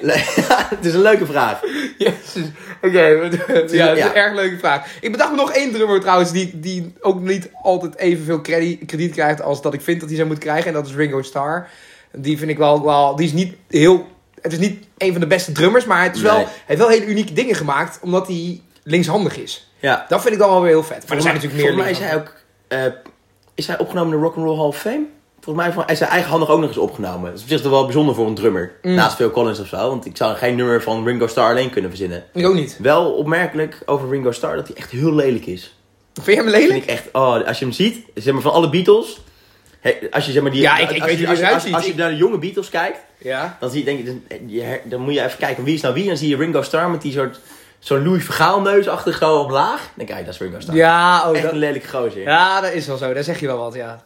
S2: Le- het is een leuke vraag.
S1: Jezus. Oké, maar- ja, dat is
S2: ja.
S1: een erg leuke vraag. Ik bedacht me nog één drummer trouwens, die, die ook niet altijd evenveel kredi- krediet krijgt als dat ik vind dat hij zou moeten krijgen. En dat is Ringo Starr. Die vind ik wel, wel die is niet heel, het is niet een van de beste drummers, maar het is wel,
S2: Nee.
S1: hij heeft wel hele unieke dingen gemaakt, omdat hij linkshandig is.
S2: Ja.
S1: Dat vind ik dan wel weer heel vet. Maar er zijn natuurlijk meer
S2: Volgens mij is hij
S1: linkshandigen.
S2: ook... eh, is hij opgenomen in de Rock'n'Roll Hall of Fame? Volgens mij van- hij is hij eigenhandig ook nog eens opgenomen. Dat is op zich toch wel bijzonder voor een drummer.
S1: Mm.
S2: Naast Phil Collins of zo. Want ik zou geen nummer van Ringo Starr alleen kunnen verzinnen.
S1: Ik ook niet.
S2: Wel opmerkelijk over Ringo Starr dat hij echt heel lelijk is.
S1: Vind je hem
S2: vind
S1: lelijk?
S2: ik echt, oh, als je hem ziet, zeg maar van alle Beatles. He, als je zeg maar die.
S1: Ja, ik- ik
S2: als,
S1: weet hoe
S2: je-
S1: hij
S2: als, je-
S1: eruit
S2: als,
S1: ziet.
S2: als je
S1: Ik-
S2: naar de jonge Beatles kijkt,
S1: Ja.
S2: dan, zie je, denk je, dan, je her- dan moet je even kijken wie is nou wie. Dan zie je Ringo Starr met die soort. Zo'n Louis Vergaal neusachtig zo omlaag. Dan denk je, ah, dat is Ringo Starr.
S1: Ja, oh,
S2: echt
S1: dat,
S2: een lelijk gozer.
S1: Ja, dat is wel zo. Daar zeg je wel wat, ja.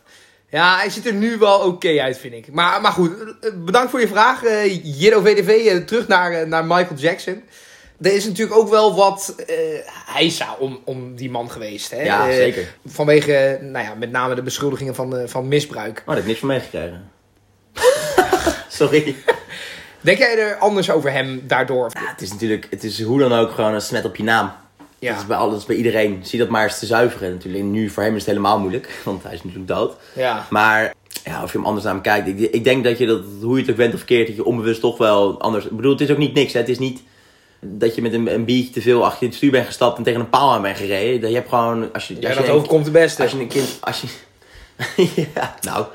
S1: Ja, hij ziet er nu wel oké uit, vind ik. Maar, maar goed, eh, bedankt voor je vraag. eh, Jiddo VDV, eh, terug naar, eh, naar Michael Jackson. Er is natuurlijk ook wel wat eh heisa om, om die man geweest. Hè?
S2: Ja,
S1: Eh,
S2: zeker.
S1: Vanwege, eh, nou ja, met name de beschuldigingen van, eh, van misbruik.
S2: Oh, daar heb ik niks van meegekregen. Sorry.
S1: Denk jij er anders over hem daardoor?
S2: Ja, het is natuurlijk, het is hoe dan ook gewoon een smet op je naam.
S1: Ja.
S2: Dat is bij alles, bij iedereen. Zie dat maar eens te zuiveren natuurlijk. En nu voor hem is het helemaal moeilijk, want hij is natuurlijk dood.
S1: Ja.
S2: Maar ja, of je hem anders naar hem kijkt. Ik, ik denk dat je dat, hoe je het ook bent of verkeerd, dat je onbewust toch wel anders... Ik bedoel, het is ook niet niks. Hè? Het is niet dat je met een, een biertje te veel achter het stuur bent gestapt en tegen een paal aan bent gereden. Dat je hebt gewoon... Als je,
S1: Ja,
S2: als
S1: dat
S2: je een-
S1: overkomt de beste.
S2: als je een kind. Als je, ja, nou.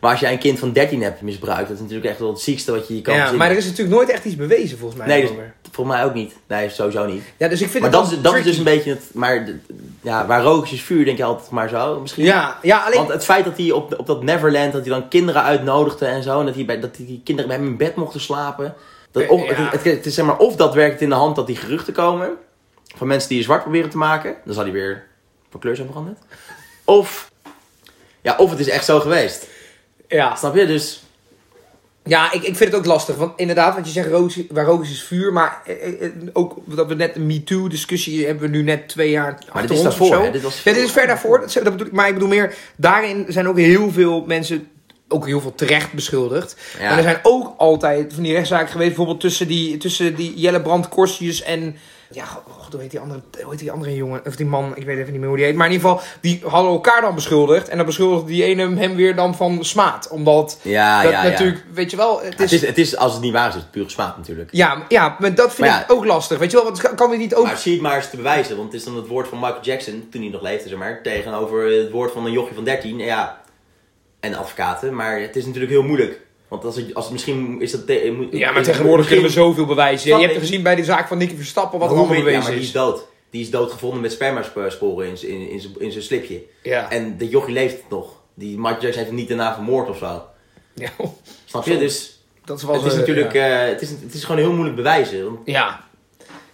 S2: Maar als jij een kind van 13 hebt misbruikt, dat is natuurlijk echt wel het ziekste wat je je kan
S1: Ja,
S2: verzinnen.
S1: maar er is natuurlijk nooit echt iets bewezen, volgens mij.
S2: Nee, dus,
S1: daarover.
S2: volgens mij ook niet. Nee, sowieso niet.
S1: ja, dus ik vind
S2: Maar
S1: het
S2: dat
S1: wel
S2: is, dat is dus
S1: tricky.
S2: een beetje het. Maar d- ja, waar rook is, is vuur, denk je altijd maar zo. Misschien.
S1: Ja, ja alleen...
S2: Want het feit dat hij op, op dat Neverland, dat hij dan kinderen uitnodigde en zo. En dat, hij bij, dat die kinderen bij hem in bed mochten slapen. Dat,
S1: Eh,
S2: of,
S1: ja.
S2: het, het- het is zeg maar, of dat werkt in de hand dat die geruchten komen. Van mensen die je zwart proberen te maken. Dan zal hij weer van kleur zijn veranderd. Of, ja, of het is echt zo geweest.
S1: ja.
S2: Snap je? Dus
S1: Ja, ik, ik vind het ook lastig. Want inderdaad, wat je zegt, rook is- waar rook is, is vuur. Maar eh, eh, ook dat we net een MeToo-discussie hebben we nu net twee jaar
S2: Maar dit
S1: achter
S2: is
S1: ons of
S2: daarvoor,
S1: zo.
S2: hè? Dit was
S1: ja, dit is ver daarvoor. Dat, dat bedoel ik. Maar ik bedoel meer, daarin zijn ook heel veel mensen... Ook heel veel terecht beschuldigd.
S2: Ja.
S1: Maar er zijn ook altijd van die rechtszaken geweest. Bijvoorbeeld tussen die, tussen die Jelle Brand Korsius en. Ja, god, hoe heet die andere, hoe heet die andere jongen? Of die man, ik weet even niet meer hoe die heet. Maar in ieder geval, die hadden elkaar dan beschuldigd. En dan beschuldigde die ene hem weer dan van smaad. Omdat
S2: Ja,
S1: dat
S2: Ah, ja, ja.
S1: natuurlijk, weet je wel, het
S2: het
S1: is
S2: is, het is, als het niet waar is, is het puur smaad natuurlijk.
S1: ja, ja, maar dat vind
S2: Maar ja.
S1: ik ook lastig. Weet je wel, want kan- kan dit niet ook...
S2: Maar zie het maar eens te bewijzen, want het is dan het woord van Michael Jackson, toen hij nog leefde, zeg maar, tegenover het woord van een jochie van 13, ja, en advocaten. Maar het is natuurlijk heel moeilijk, want als het, als het misschien is dat... te- eh, moet-
S1: ja, maar
S2: moet-
S1: tegenwoordig kunnen we
S2: misschien-
S1: zoveel bewijzen.
S2: Snap
S1: Je hebt
S2: ik.
S1: gezien bij de zaak van Nicky Verstappen wat er
S2: Hoe
S1: allemaal
S2: weet- ja, maar
S1: bewezen
S2: die
S1: is.
S2: is dood. Die is dood gevonden met spermasporen in, z'n- in, in, z'n- in zijn slipje.
S1: Ja.
S2: En de jochie leeft nog. Die Michael Jackson heeft hem niet daarna vermoord of zo.
S1: Ja, oh,
S2: Snap je? Dus
S1: dat is wel
S2: het is
S1: zo,
S2: natuurlijk,
S1: Ja.
S2: eh, het, is, het is gewoon heel moeilijk bewijzen. want
S1: Ja.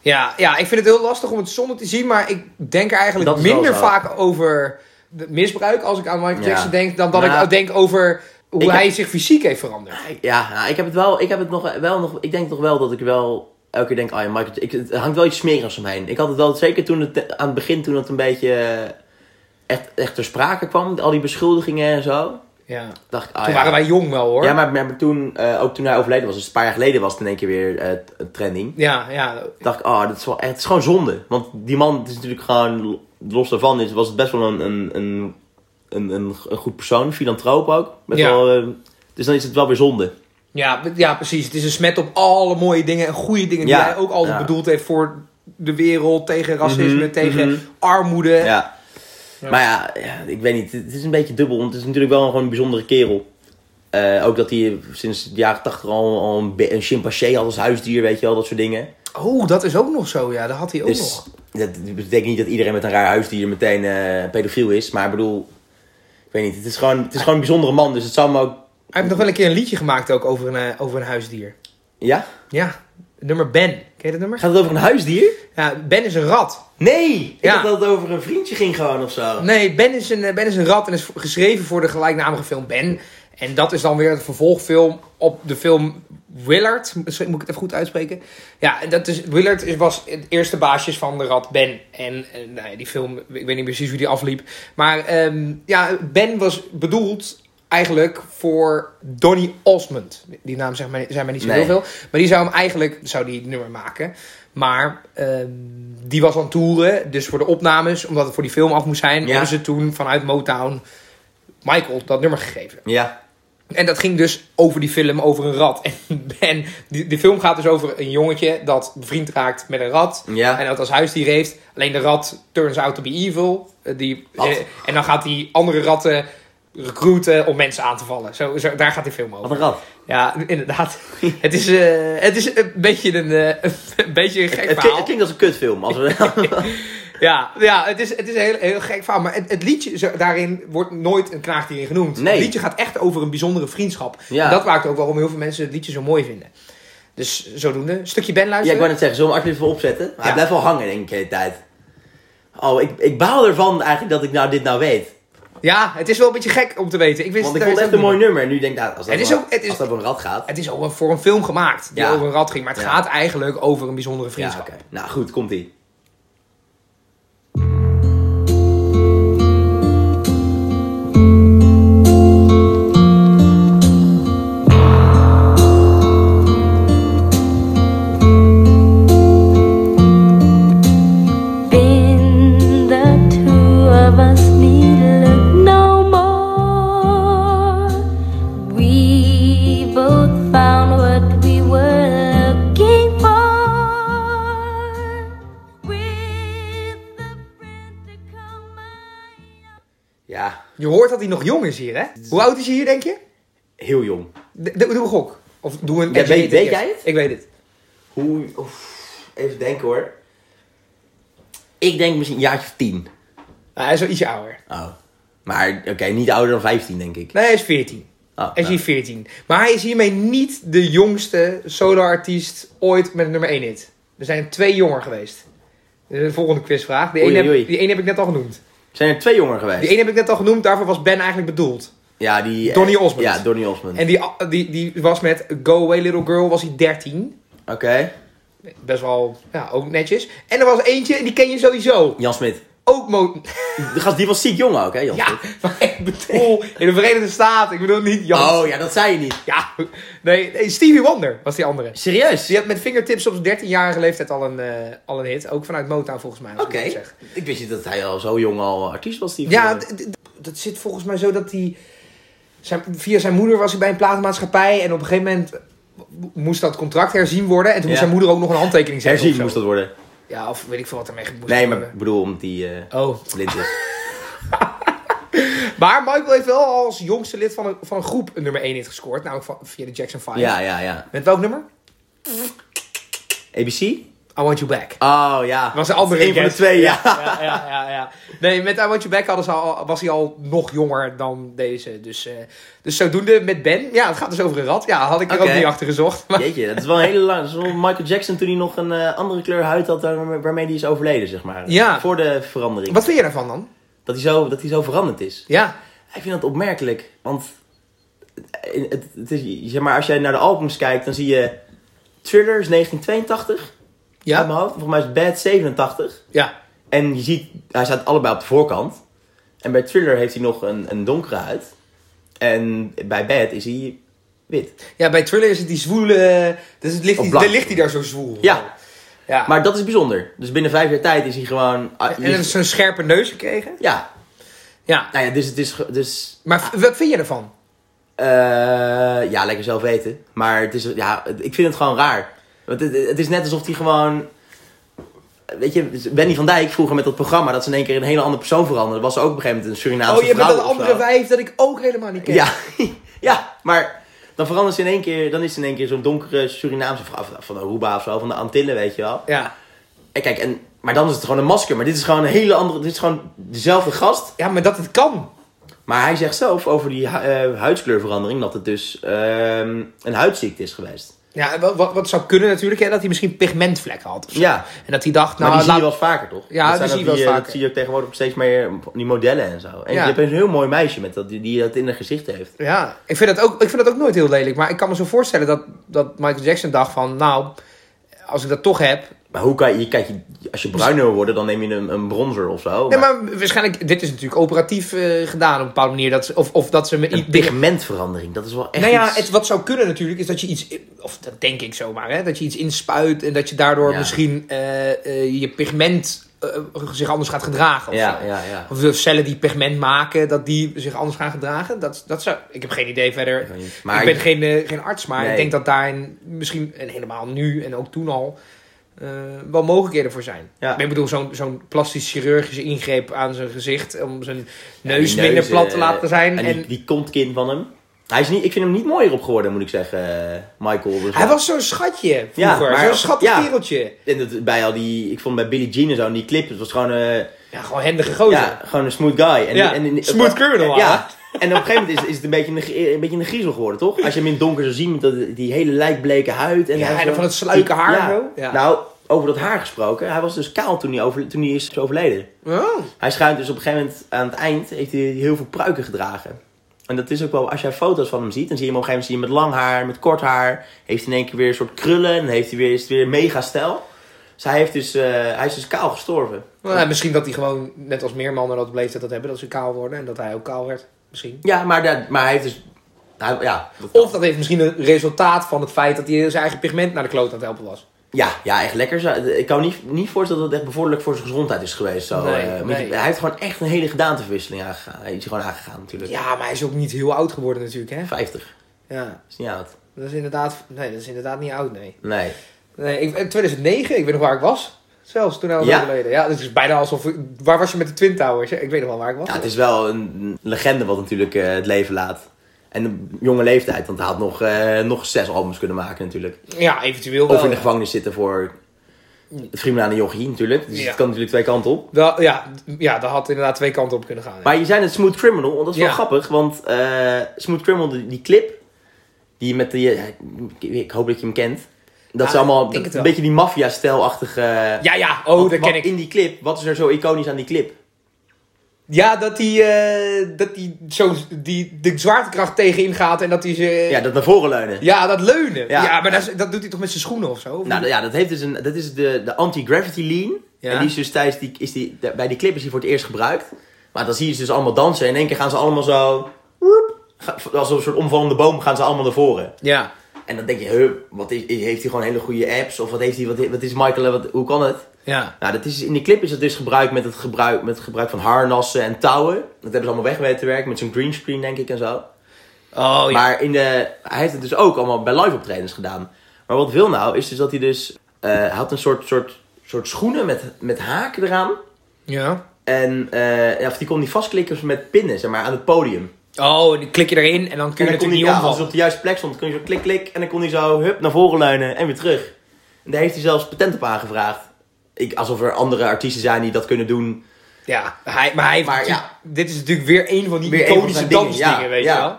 S1: Ja, ja, ik vind het heel lastig om het zonder te zien. Maar ik denk er eigenlijk
S2: Dat is wel
S1: minder
S2: zo.
S1: vaak over het misbruik als ik aan Michael
S2: Ja.
S1: Jackson denk... dan dat
S2: Nou.
S1: ik denk over hoe
S2: Ik heb-
S1: hij zich fysiek heeft veranderd.
S2: Ja, nou, ik heb het wel. Ik heb het nog wel nog. Ik denk nog wel dat ik wel elke keer denk, ah ja, Michael, ik, het hangt wel iets smerigs omheen. Ik had het wel zeker toen het aan het begin toen het een beetje eh, echt, echt ter sprake kwam, al die beschuldigingen en zo.
S1: Ja. Toen
S2: Dacht ik, ah, ja.
S1: waren wij jong wel hoor.
S2: Ja, maar, maar toen, eh, ook toen hij overleden was, dus een paar jaar geleden was het in één keer weer eh, t- trending.
S1: ja, ja.
S2: dacht ik, ah, dat is wel, het is gewoon zonde. Want die man, het is natuurlijk gewoon, los daarvan, is, was het best wel een, een, een, een, een goed persoon. Filantroop ook. Met
S1: Ja.
S2: wel, eh, dus dan is het wel weer zonde.
S1: Ja, b- ja, precies. Het is een smet op alle mooie dingen en goede dingen
S2: Ja,
S1: die hij ook altijd
S2: ja.
S1: bedoeld heeft voor de wereld, tegen racisme,
S2: Mhm,
S1: tegen
S2: mhm.
S1: armoede.
S2: Ja. Maar ja, ja, ik weet niet. Het is een beetje dubbel. Want het is natuurlijk wel gewoon een bijzondere kerel. Eh, ook dat hij sinds de jaren tachtig al, al een, be- een chimpansee had als huisdier, weet je wel, dat soort dingen.
S1: Oh, dat is ook nog zo. Ja, dat had hij ook
S2: Dus
S1: nog.
S2: dat betekent niet dat iedereen met een raar huisdier meteen eh, pedofiel is. Maar ik bedoel, ik weet niet. Het is gewoon, het is gewoon een bijzondere man. Dus het zou me ook...
S1: Hij heeft nog wel een keer een liedje gemaakt ook over een, eh, over een huisdier.
S2: Ja?
S1: Ja, het nummer Ben. Ken je dat nummer?
S2: Gaat het over een huisdier?
S1: Ja, ben is een rat.
S2: Nee! Ik
S1: Ja.
S2: dacht dat het over een vriendje ging gewoon of zo.
S1: Nee, Ben is een, eh, ben is een rat en is v- geschreven voor de gelijknamige film Ben. En dat is dan weer het vervolgfilm op de film Willard. Misschien moet ik het even goed uitspreken. Ja, en dat is, Willard is, was het eerste baasjes van de rat Ben. En, eh, nou ja, die film, ik weet niet precies hoe die afliep. Maar ehm, ja, Ben was bedoeld eigenlijk voor Donny Osmond. Die naam zegt mij, zei mij niet zo
S2: Nee.
S1: heel veel. Maar die zou hem eigenlijk, zou die het nummer maken. Maar ehm, die was aan toeren, dus voor de opnames, omdat het voor die film af moest zijn,
S2: Ja.
S1: hebben ze toen vanuit Motown Michael dat nummer gegeven.
S2: Ja.
S1: En dat ging dus over die film, over een rat. En Ben, die, die film gaat dus over een jongetje dat bevriend raakt met een rat.
S2: Ja.
S1: En dat als huisdier heeft. Alleen de rat turns out to be evil. Eh, Die,
S2: Wat?
S1: eh, en dan gaat die andere ratten recruiten om mensen aan te vallen. Zo, zo, daar gaat die film
S2: Wat
S1: over.
S2: een rat.
S1: Ja, inderdaad. het, is, eh, het is een beetje een, eh, een, beetje een gek
S2: Het, klinkt- het
S1: verhaal.
S2: klinkt als een kutfilm. Als we...
S1: Ja, ja het is, het is een heel, heel gek verhaal. Maar het, het liedje zo- daarin wordt nooit een knaagdier genoemd.
S2: Nee.
S1: Het liedje gaat echt over een bijzondere vriendschap.
S2: Ja.
S1: En dat maakt ook waarom heel veel mensen het liedje zo mooi vinden. Dus zodoende. Een stukje Ben
S2: Ja, ik
S1: luisteren.
S2: wou net zeggen, zullen we hem alsjeblieft wel opzetten? Maar
S1: Ja.
S2: Hij blijft wel hangen, denk ik, de hele tijd. Oh, ik, ik baal ervan eigenlijk dat ik nou dit nou weet.
S1: Ja, het is wel een beetje gek om te weten. Ik wist
S2: Want ik
S1: daar
S2: vond
S1: is
S2: het echt
S1: ook
S2: een mooi nummer. En nu denk ik, nou, als dat,
S1: Het is
S2: wel-
S1: ook- het is-
S2: als dat op een rat gaat.
S1: Het is ook wel voor een film gemaakt die
S2: Ja.
S1: over een rat ging. Maar het
S2: Ja.
S1: gaat eigenlijk over een bijzondere
S2: Ja,
S1: vriendschap.
S2: oké. Nou goed, komt ie.
S4: Between the two of us need look no more. We both found what we were looking for. With the friend to come my
S2: Ja,
S1: Je hoort dat hij nog jong is hier, hè? Hoe oud is hij hier, denk je?
S2: heel jong.
S1: D- d- doe een gok. Of doe een...
S2: Ja, weet-
S1: educated
S2: weet
S1: guess.
S2: jij het?
S1: Ik weet het.
S2: Hoe... oef, even denken hoor. Ik denk misschien een jaartje of tien.
S1: Nou, hij is wel ietsje ouder.
S2: Oh. Maar oké, niet ouder dan 15 denk ik.
S1: Nee, hij is 14.
S2: Oh,
S1: Hij is
S2: nou.
S1: hier 14. Maar hij is hiermee niet de jongste solo-artiest ooit met een nummer 1 hit. Er zijn twee jonger geweest. Dus De volgende quizvraag. Die
S2: Oei,
S1: ene
S2: oei.
S1: heb, die ene heb ik net al genoemd.
S2: Zijn er twee jongen geweest?
S1: Die ene heb ik net al genoemd, daarvoor was Ben eigenlijk bedoeld.
S2: Ja, die... eh,
S1: Donny Osmond.
S2: Ja, Donny Osmond.
S1: En die, die, die was met Go Away Little Girl, was hij 13.
S2: Oké.
S1: Best wel, ja, ook netjes. En er was eentje, en die ken je sowieso.
S2: Jan Smit.
S1: Ook mo...
S2: De gast, die was ziek jong ook, hè Jan
S1: Ja,
S2: Smit?
S1: maar ik bedoel, in de Verenigde Staten, ik bedoel niet Jan.
S2: Oh ja, dat zei je niet.
S1: Ja, nee, nee, Stevie Wonder was die andere.
S2: Serieus?
S1: Die had met Fingertips op zijn 13-jarige leeftijd al een, eh, al een hit. Ook vanuit Motown volgens mij. als ik
S2: Oké.
S1: het goed zeg.
S2: Ik wist niet dat hij al zo jong al artiest was. Die
S1: Ja,
S2: voor-
S1: d- d- dat zit volgens mij zo dat hij... Zijn, via zijn moeder was hij bij een platenmaatschappij. En op een gegeven moment moest dat contract herzien worden. En toen moest
S2: Ja.
S1: zijn moeder ook nog een handtekening zetten.
S2: herzien
S1: of zo.
S2: moest dat worden.
S1: Ja, of weet ik veel wat ermee moest
S2: Nee, maar ik
S1: worden.
S2: bedoel, omdat die eh
S1: Oh.
S2: blind is.
S1: Maar Michael heeft wel als jongste lid van een, van een groep een nummer 1 hit gescoord. Namelijk van, via de Jackson 5.
S2: ja, ja, ja.
S1: Met welk nummer?
S2: ABC?
S1: I Want You Back.
S2: Oh ja.
S1: was een andere
S2: Eén van de
S1: guest.
S2: twee, ja.
S1: ja, ja, ja, ja. Nee, met I Want You Back hadden ze al, was hij al nog jonger dan deze. Dus, eh, dus zodoende met Ben. Ja, het gaat dus over een rat. Ja, had ik er
S2: Oké.
S1: ook niet achter gezocht. Maar,
S2: Jeetje, dat is wel een hele lang. Dat is wel Michael Jackson toen hij nog een eh, andere kleur huid had waar- waarmee hij is overleden, zeg maar.
S1: Ja.
S2: Voor de verandering.
S1: wat vind je daarvan dan?
S2: Dat, hij zo, dat hij zo veranderd is.
S1: Ja.
S2: Ik vind dat opmerkelijk, want het, het, het is, zeg maar, als jij naar de albums kijkt, dan zie je Thriller is 1982 uit
S1: Ja?
S2: mijn hoofd. Volgens mij is Bad 87.
S1: Ja.
S2: En je ziet, hij staat allebei op de voorkant. En bij Thriller heeft hij nog een, een donkere huid. En bij Bad is hij wit.
S1: Ja, bij Thriller is het die zwoele... eh, Dus het ligt,
S2: Of
S1: die-
S2: blank.
S1: daar ligt hij daar zo zwoel.
S2: Ja,
S1: ja.
S2: maar dat is bijzonder. Dus binnen vijf jaar tijd is hij gewoon... ah,
S1: en dan is zo'n scherpe neus gekregen.
S2: Ja,
S1: Ja.
S2: nou ja, dus het is... ge- Dus,
S1: Maar v- wat vind je ervan?
S2: eh, ja, lekker zelf weten. Maar het is, ja, het- ik vind het gewoon raar. Want het, het is net alsof hij gewoon... Weet je, Benny van Dijk vroeger met dat programma... dat ze in één keer een hele andere persoon veranderden. Was ze ook op een gegeven moment een Surinaamse
S1: Oh, je bent
S2: vrouw
S1: dat
S2: of zo.
S1: andere wijf dat ik ook helemaal niet ken.
S2: Ja, ja, maar dan verandert ze in één keer... dan is ze in één keer zo'n donkere Surinaamse vrouw... van- van Aruba of zo, van de Antillen, weet je wel.
S1: Ja.
S2: En kijk, en, maar dan is het gewoon een masker. Maar dit is gewoon een hele andere... dit is gewoon dezelfde gast...
S1: Ja, maar dat het kan.
S2: Maar hij zegt zelf over die hu- eh, huidskleurverandering dat het dus ehm, een huidziekte is geweest.
S1: Ja, wat, wat, wat zou kunnen natuurlijk, hè, dat hij misschien pigmentvlekken had. of zo.
S2: Ja,
S1: En dat hij dacht,
S2: maar
S1: nou,
S2: die zie je
S1: laat-
S2: wel vaker toch?
S1: Ja, die
S2: zijn
S1: zie
S2: ook
S1: je wel
S2: eh,
S1: vaker.
S2: Dat zie je ook tegenwoordig op steeds meer op die modellen en zo. En
S1: Ja.
S2: je hebt een heel mooi meisje met dat, die, die dat in haar gezicht heeft.
S1: ja, ik vind, dat ook, ik vind dat ook nooit heel lelijk. Maar ik kan me zo voorstellen dat, dat Michael Jackson dacht van, nou, als ik dat toch heb...
S2: Maar hoe kan je, kijk, je- als je bruiner wil worden, dan neem je een, een bronzer of zo.
S1: Nee, maar waarschijnlijk, dit is natuurlijk operatief eh, gedaan op een bepaalde manier. Dat ze, of, of dat ze met
S2: Een
S1: iets dingen...
S2: pigmentverandering, dat is wel echt
S1: Nou ja,
S2: iets-
S1: het, wat zou kunnen natuurlijk is dat je iets, of dat denk ik zomaar, hè, dat je iets inspuit en dat je daardoor
S2: Ja.
S1: misschien eh, eh, je pigment eh, zich anders gaat gedragen. Of,
S2: Ja,
S1: zo.
S2: ja, ja.
S1: of de cellen die pigment maken, dat die zich anders gaan gedragen. Dat, dat zou, ik heb geen idee verder.
S2: weet niet.
S1: Maar
S2: Maar
S1: ik ben
S2: ik-
S1: geen, eh, geen arts, maar ik
S2: Nee.
S1: denk dat daarin misschien, en helemaal nu en ook toen al, eh, wel mogelijkheden voor zijn.
S2: Ja.
S1: Maar Ik bedoel, zo'n zo'n plastisch chirurgische ingreep aan zijn gezicht om zijn
S2: die
S1: neus minder
S2: neus,
S1: plat te
S2: eh,
S1: laten zijn.
S2: En,
S1: en
S2: die, die kontkin van hem. Hij is niet, ik vind hem niet mooier op geworden, moet ik zeggen, eh, Michael. Dus
S1: Hij
S2: ja.
S1: was zo'n schatje
S2: Ja,
S1: vroeger.
S2: maar-
S1: zo'n schattig
S2: ja.
S1: kereltje.
S2: En dat, bij al die, ik vond bij Billie Jean en zo, en die clip, het was gewoon, eh,
S1: Ja, gewoon hendige gozer.
S2: ja, gewoon een smooth guy. En,
S1: Oh, Ja,
S2: en,
S1: smooth criminal,
S2: Ja. En op een gegeven moment is, is het een beetje, een, ge- een beetje een griezel geworden, toch? Als je hem in het donker zou zien met dat, die hele lijkbleke huid. En,
S1: Ja,
S2: hij
S1: en
S2: zo-
S1: van het sluike haar
S2: Ja.
S1: zo. Ja.
S2: Nou, over dat haar gesproken. Hij was dus kaal toen hij, over, toen hij is overleden.
S1: Oh.
S2: Hij schijnt dus op een gegeven moment aan het eind heeft hij heel veel pruiken gedragen. En dat is ook wel, als jij foto's van hem ziet, dan zie je hem op een gegeven moment zie je hem met lang haar, met kort haar. Heeft hij in één keer weer een soort krullen en heeft hij weer, is het weer mega stijl. Dus hij, heeft dus, eh, hij is dus kaal gestorven.
S1: Nou, ja, misschien dat hij gewoon, net als meer mannen dat op leeftijd dat hebben, dat ze kaal worden. En dat hij ook kaal werd. Misschien.
S2: Ja, maar, dat, maar hij heeft dus... hij- ja, dat-
S1: Of dat heeft misschien een resultaat van het feit dat hij zijn eigen pigment naar de kloot aan het helpen was.
S2: ja, ja, echt lekker. zo. Ik kan me niet, niet voorstellen dat het echt bevorderlijk voor zijn gezondheid is geweest. Zo.
S1: Nee,
S2: eh, want
S1: nee.
S2: je- Hij heeft gewoon echt een hele gedaanteverwisseling aangegaan. Hij is gewoon aangegaan natuurlijk.
S1: Ja, maar hij is ook niet heel oud geworden natuurlijk, hè?
S2: 50.
S1: Ja,
S2: Is niet oud.
S1: dat is inderdaad, nee, dat is inderdaad niet oud, nee.
S2: Nee.
S1: Nee, ik, in 2009, ik weet nog waar ik was. Zelfs toen hij was
S2: Ja.
S1: overleden. Ja, dus het is bijna alsof... Waar was je met de Twin Towers? hè? Ik weet nog wel waar ik was.
S2: Ja, het is wel een legende wat natuurlijk eh, het leven laat. En een jonge leeftijd, want hij had nog, eh, nog zes albums kunnen maken natuurlijk.
S1: Ja, eventueel wel.
S2: Of in de
S1: ja.
S2: gevangenis zitten voor het vrienden aan de jochie natuurlijk. Dus
S1: Ja.
S2: het kan natuurlijk twee kanten op.
S1: Wel, ja, d- ja, dat had inderdaad twee kanten op kunnen gaan. ja.
S2: Maar je zei het Smooth Criminal, want dat is
S1: Ja.
S2: wel grappig. Want eh, Smooth Criminal, die, die clip, die met die... eh, ik, ik hoop dat je hem kent. Dat
S1: Ja,
S2: is allemaal
S1: ik denk het
S2: een
S1: wel.
S2: beetje die maffia-stijlachtige...
S1: ja, ja, oh,
S2: Wat-
S1: dat
S2: wat
S1: ken ik.
S2: In die clip, wat is er zo iconisch aan die clip?
S1: Ja, dat hij eh, dat die zo die, de zwaartekracht tegenin gaat en dat hij ze...
S2: Ja, dat naar voren leunen.
S1: Ja, dat leunen. Ja,
S2: Ja.
S1: maar dat, is- dat doet hij toch met zijn schoenen of zo? of
S2: Nou
S1: niet?
S2: ja, dat, heeft dus een, dat is de, de anti-gravity lean.
S1: Ja.
S2: En die is dus tijdens die, is die, bij die clip is die voor het eerst gebruikt. Maar dan zie je ze dus allemaal dansen. En in één keer gaan ze allemaal zo... woep, ga- Als een soort omvallende boom gaan ze allemaal naar voren.
S1: Ja.
S2: En dan denk je, huh, wat is, heeft hij gewoon hele goede apps? Of wat, heeft hij, wat, wat is Michael, wat, hoe kan het?
S1: Ja.
S2: Nou, dat is, in die clip is het dus gebruikt met het gebruik, met het gebruik van harnassen en touwen. Dat hebben ze allemaal weg weten te werken met zo'n greenscreen, denk ik, en zo.
S1: Oh, ja.
S2: Maar in de, hij heeft het dus ook allemaal bij live optredens gedaan. Maar wat wil nou, is dus dat hij dus... eh, hij had een soort, soort, soort schoenen met, met haken eraan.
S1: ja.
S2: En eh, ja, of die kon die vastklikken met pinnen, zeg maar, aan het podium.
S1: Oh, en dan klik je erin en dan kun
S2: En
S1: je
S2: dan kon
S1: natuurlijk
S2: hij,
S1: niet
S2: ja,
S1: omvallen.
S2: als het op de juiste plek stond, kon je zo klik, klik. En dan kon hij zo, hup, naar voren leunen en weer terug. En daar heeft hij zelfs patent op aangevraagd. Ik, alsof er andere artiesten zijn die dat kunnen doen.
S1: Ja, hij, maar, hij heeft
S2: Maar
S1: natuurlijk-
S2: ja.
S1: dit is natuurlijk weer een van die
S2: Weer een van
S1: iconische
S2: zijn dingen,
S1: dansdingen,
S2: ja,
S1: weet
S2: ja.
S1: je wel?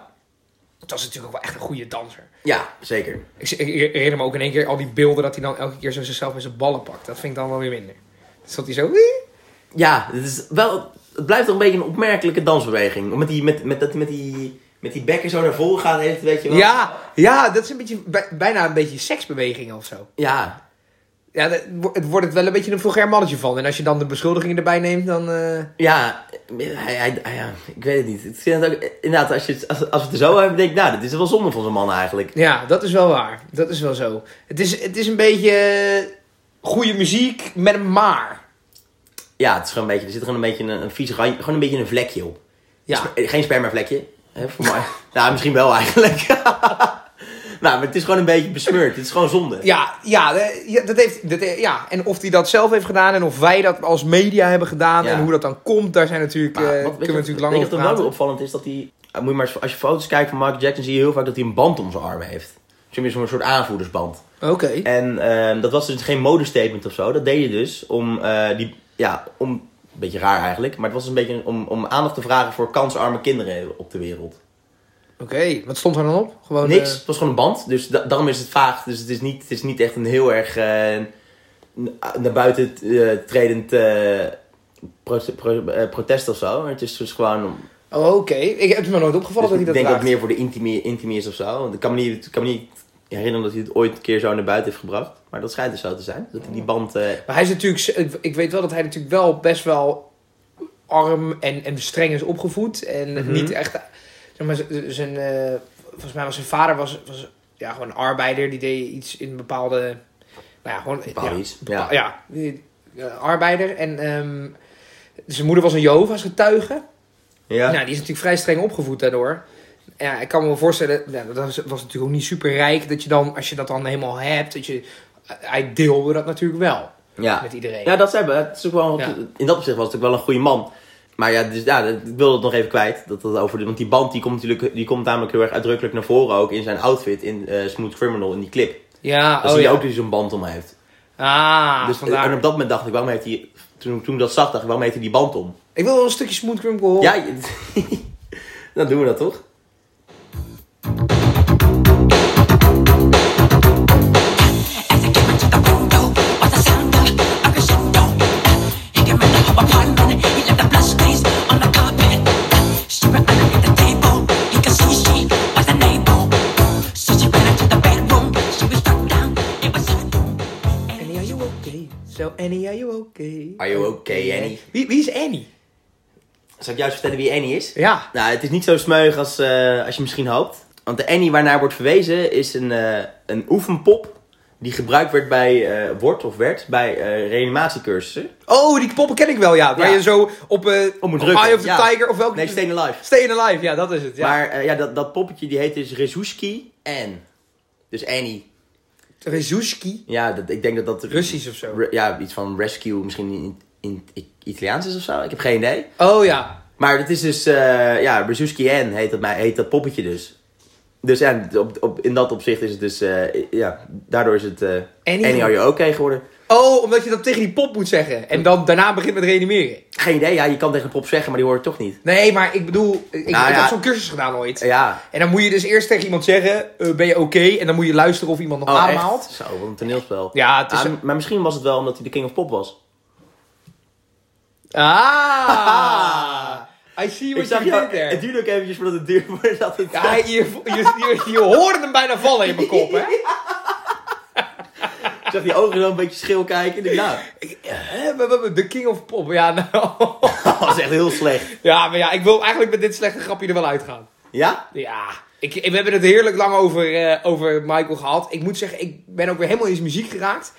S1: Dat is natuurlijk ook wel echt een goede danser.
S2: Ja, zeker.
S1: Ik, ik herinner me ook in één keer al die beelden dat hij dan elke keer zo zichzelf met zijn ballen pakt. Dat vind ik dan wel weer minder. Dus dat hij zo...
S2: Ja, het, is wel, het blijft toch een beetje een opmerkelijke dansbeweging. Met die, met, met, dat- met die, met met die bekken zo naar voren gaat, heeft, weet je wel.
S1: Ja, ja, dat is een beetje, bij- bijna een beetje seksbeweging of zo.
S2: Ja.
S1: Ja, dat wo- het wordt het wel een beetje een vulgair mannetje van. En als je dan de beschuldigingen erbij neemt, dan... eh,
S2: Ja, hij, hij, hij- ja, ik weet het niet. Het is inderdaad, ook, inderdaad als, je, het- als, als we het er zo hebben, denk ik, nou, dit is wel zonde van zo'n man eigenlijk.
S1: Ja, dat is wel waar. Dat is wel zo. Het is, het is een beetje eh, goede muziek met een maar.
S2: Ja, het is gewoon een beetje, er zit gewoon een beetje een, een vieze randje, gewoon een beetje een vlekje op.
S1: Ja,
S2: Spe- Geen spermavlekje, hè, voor mij. nou, misschien wel eigenlijk. nou, maar het is gewoon een beetje besmeurd. Het is gewoon zonde.
S1: ja, ja, eh, ja, dat heeft, dat, eh, ja. En of hij dat zelf heeft gedaan en of wij dat als media hebben gedaan
S2: Ja.
S1: en hoe dat dan komt, daar zijn natuurlijk, eh,
S2: Maar
S1: kunnen
S2: wat-
S1: we
S2: weet je wat-
S1: natuurlijk lang
S2: weet je
S1: over
S2: wat er wel weer
S1: praten.
S2: opvallend is? Dat hij, Ah, moet je maar eens- als je foto's kijkt van Michael Jackson, zie je heel vaak dat hij een band om zijn arm heeft. Dus hij heeft Zo'n soort aanvoerdersband.
S1: Oké.
S2: En ehm, dat was dus geen modestatement of zo. Dat deed je dus om eh, die, ja, om, een beetje raar eigenlijk, maar het was dus een beetje om, om aandacht te vragen voor kansarme kinderen op de wereld.
S1: Oké, wat stond er dan op? Gewoon
S2: Niks,
S1: eh,
S2: het was gewoon een band, dus da- daarom is het vaag. Dus het is niet, het is niet echt een heel erg eh, n- naar buiten eh, tredend eh, pro- pro- eh, protest of zo. Maar Het is dus gewoon om,
S1: oh, Oké, ik heb het me nooit opgevallen
S2: Dus
S1: dat hij dat
S2: ik denk
S1: draagt.
S2: dat het meer voor de intimi, intimi is of zo. Want ik kan me niet, ik kan me niet herinneren dat hij het ooit een keer zo naar buiten heeft gebracht. Maar dat schijnt dus zo te zijn. Dat hij die band... eh,
S1: Maar hij is natuurlijk, z- ik, ik weet wel dat hij natuurlijk wel best wel arm en, en streng is opgevoed. En niet echt, zeg maar, z- z- zijn, eh, volgens mij was zijn vader was, was, ja, gewoon een arbeider. Die deed iets in bepaalde, nou ja, gewoon...
S2: Bepaald
S1: ja,
S2: iets,
S1: bepa-
S2: ja.
S1: ja, die- eh, arbeider. En ehm, zijn moeder was een Jehovah's getuige.
S2: ja.
S1: Nou, die is natuurlijk vrij streng opgevoed daardoor. Ja, ik kan me voorstellen, nou, dat was, was natuurlijk ook niet super rijk. Dat je dan, als je dat dan helemaal hebt, dat je... eh, Hij deelde dat natuurlijk wel
S2: ja.
S1: met iedereen.
S2: ja, dat zijn we. Het is ook wel,
S1: Ja.
S2: In dat opzicht was het ook wel een goede man. Maar ja, dus, ja dat- ik wil dat nog even kwijt. Dat, dat over, de- want die band die komt, natuurlijk, die komt namelijk heel erg uitdrukkelijk naar voren ook in zijn outfit in eh, Smooth Criminal in die clip.
S1: Ja,
S2: Dan
S1: oh
S2: zie je
S1: ja.
S2: ook dat hij zo'n band om heeft.
S1: Ah,
S2: dus,
S1: vandaar.
S2: en op dat moment dacht ik, waarom heeft hij... Toen, toen ik dat zag, dacht ik, waarom heeft hij die band om?
S1: Ik wil wel een stukje Smooth Criminal horen.
S2: Ja, je- dan doen we dat toch?
S5: As I give into the window, was the sound of a crescendo. He came into her apartment, he left a blood stains on the carpet. She ran underneath the table, he could see she was unable. So she ran into the bedroom, she was struck down, it was her doom.
S1: Annie, are you okay? So, Annie, are you okay?
S2: Are you okay, Annie?
S1: Wie, wie is Annie?
S2: Zal ik juist vertellen wie Annie is?
S1: Ja.
S2: Nou, het is niet zo smeug als, eh, als je misschien hoopt. Want de Annie waarnaar wordt verwezen is een, eh, een oefenpop die gebruikt werd bij, eh, wordt of werd bij eh, reanimatiecursussen.
S1: Oh, die poppen ken ik wel, ja. Waar
S2: Ja.
S1: je zo op, eh
S2: Om moet
S1: op
S2: drukken,
S1: Eye of the
S2: ja.
S1: Tiger of welke...
S2: Nee, Stay Alive.
S1: Stay Alive, ja, dat is het. Ja.
S2: Maar eh, ja, dat, dat poppetje die heet dus Rezuski en. Dus Annie.
S1: Rezushki.
S2: Ja, dat, ik denk dat dat...
S1: Russisch of zo.
S2: Re- ja, iets van rescue misschien in, in, in Italiaans is of zo. Ik heb geen idee.
S1: Oh ja.
S2: Maar het is dus, eh, ja, Brzezinski N heet dat, mij- heet dat poppetje dus. Dus ja, op, op, in dat opzicht is het dus, eh, ja, daardoor is het eh
S1: Annie.
S2: Annie, Are You Okay geworden.
S1: Oh, omdat je dat tegen die pop moet zeggen. En dan daarna begint met reanimeren.
S2: Geen idee, ja, je kan tegen een pop zeggen, maar die hoort het toch niet.
S1: Nee, maar ik bedoel... Ik,
S2: Nou,
S1: ik
S2: ja.
S1: heb zo'n cursus gedaan ooit.
S2: Ja.
S1: En dan moet je dus eerst tegen iemand zeggen... eh, ben je oké? En dan moet je luisteren of iemand nog
S2: Oh,
S1: ademhaalt.
S2: echt? Zo, wat een toneelspel.
S1: Ja, het is
S2: Ah,
S1: een-
S2: Maar misschien was het wel omdat hij de king of pop was.
S1: Ah! I see what you
S2: jou-
S1: did there.
S2: het duurde ook eventjes voordat het duurde voordat het...
S1: Ja, je, je, je, je hoorde hem bijna vallen in mijn kop, hè?
S2: Ik zag die ogen zo een beetje schil kijken. Ik dacht, nou,
S1: eh, Hè, we- we- we- De King of Pop, ja, nou.
S2: dat was echt heel slecht.
S1: Ja, maar ja, ik wil eigenlijk met dit slechte grapje er wel uitgaan.
S2: Ja?
S1: Ja, ik, we hebben het heerlijk lang over, eh, over Michael gehad. Ik moet zeggen, ik ben ook weer helemaal in zijn muziek geraakt.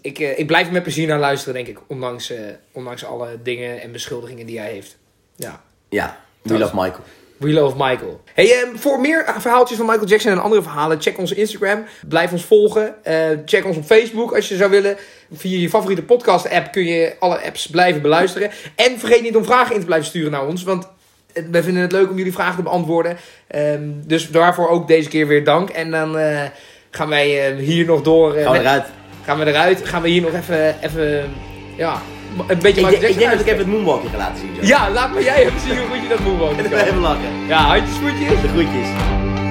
S1: Ik, eh, ik blijf er met plezier naar luisteren, denk ik. Ondanks, eh, ondanks alle dingen en beschuldigingen die hij heeft. Ja.
S2: Ja, we love Michael.
S1: We love Michael. Hey, ehm, voor meer verhaaltjes van Michael Jackson en andere verhalen, check onze Instagram. Blijf ons volgen. Eh, check ons op Facebook als je zou willen. Via je favoriete podcast-app kun je alle apps blijven beluisteren. En vergeet niet om vragen in te blijven sturen naar ons, want eh, wij vinden het leuk om jullie vragen te beantwoorden. Ehm, dus daarvoor ook deze keer weer dank. En dan eh, gaan wij eh, hier nog door. eh,
S2: Gaan we
S1: met-
S2: eruit.
S1: gaan we eruit. Gaan we hier nog even, even ja, een beetje
S2: Ik,
S1: Michael
S2: denk-
S1: Jackson
S2: ik denk dat
S1: uitspelen.
S2: ik even het moonwalkje ga laten zien. Zo.
S1: Ja, laat maar jij even zien hoe goed je dat moet
S2: En dan gaan we
S1: wonen.
S2: even lachen.
S1: Ja, handjes, voetjes.
S2: De groetjes.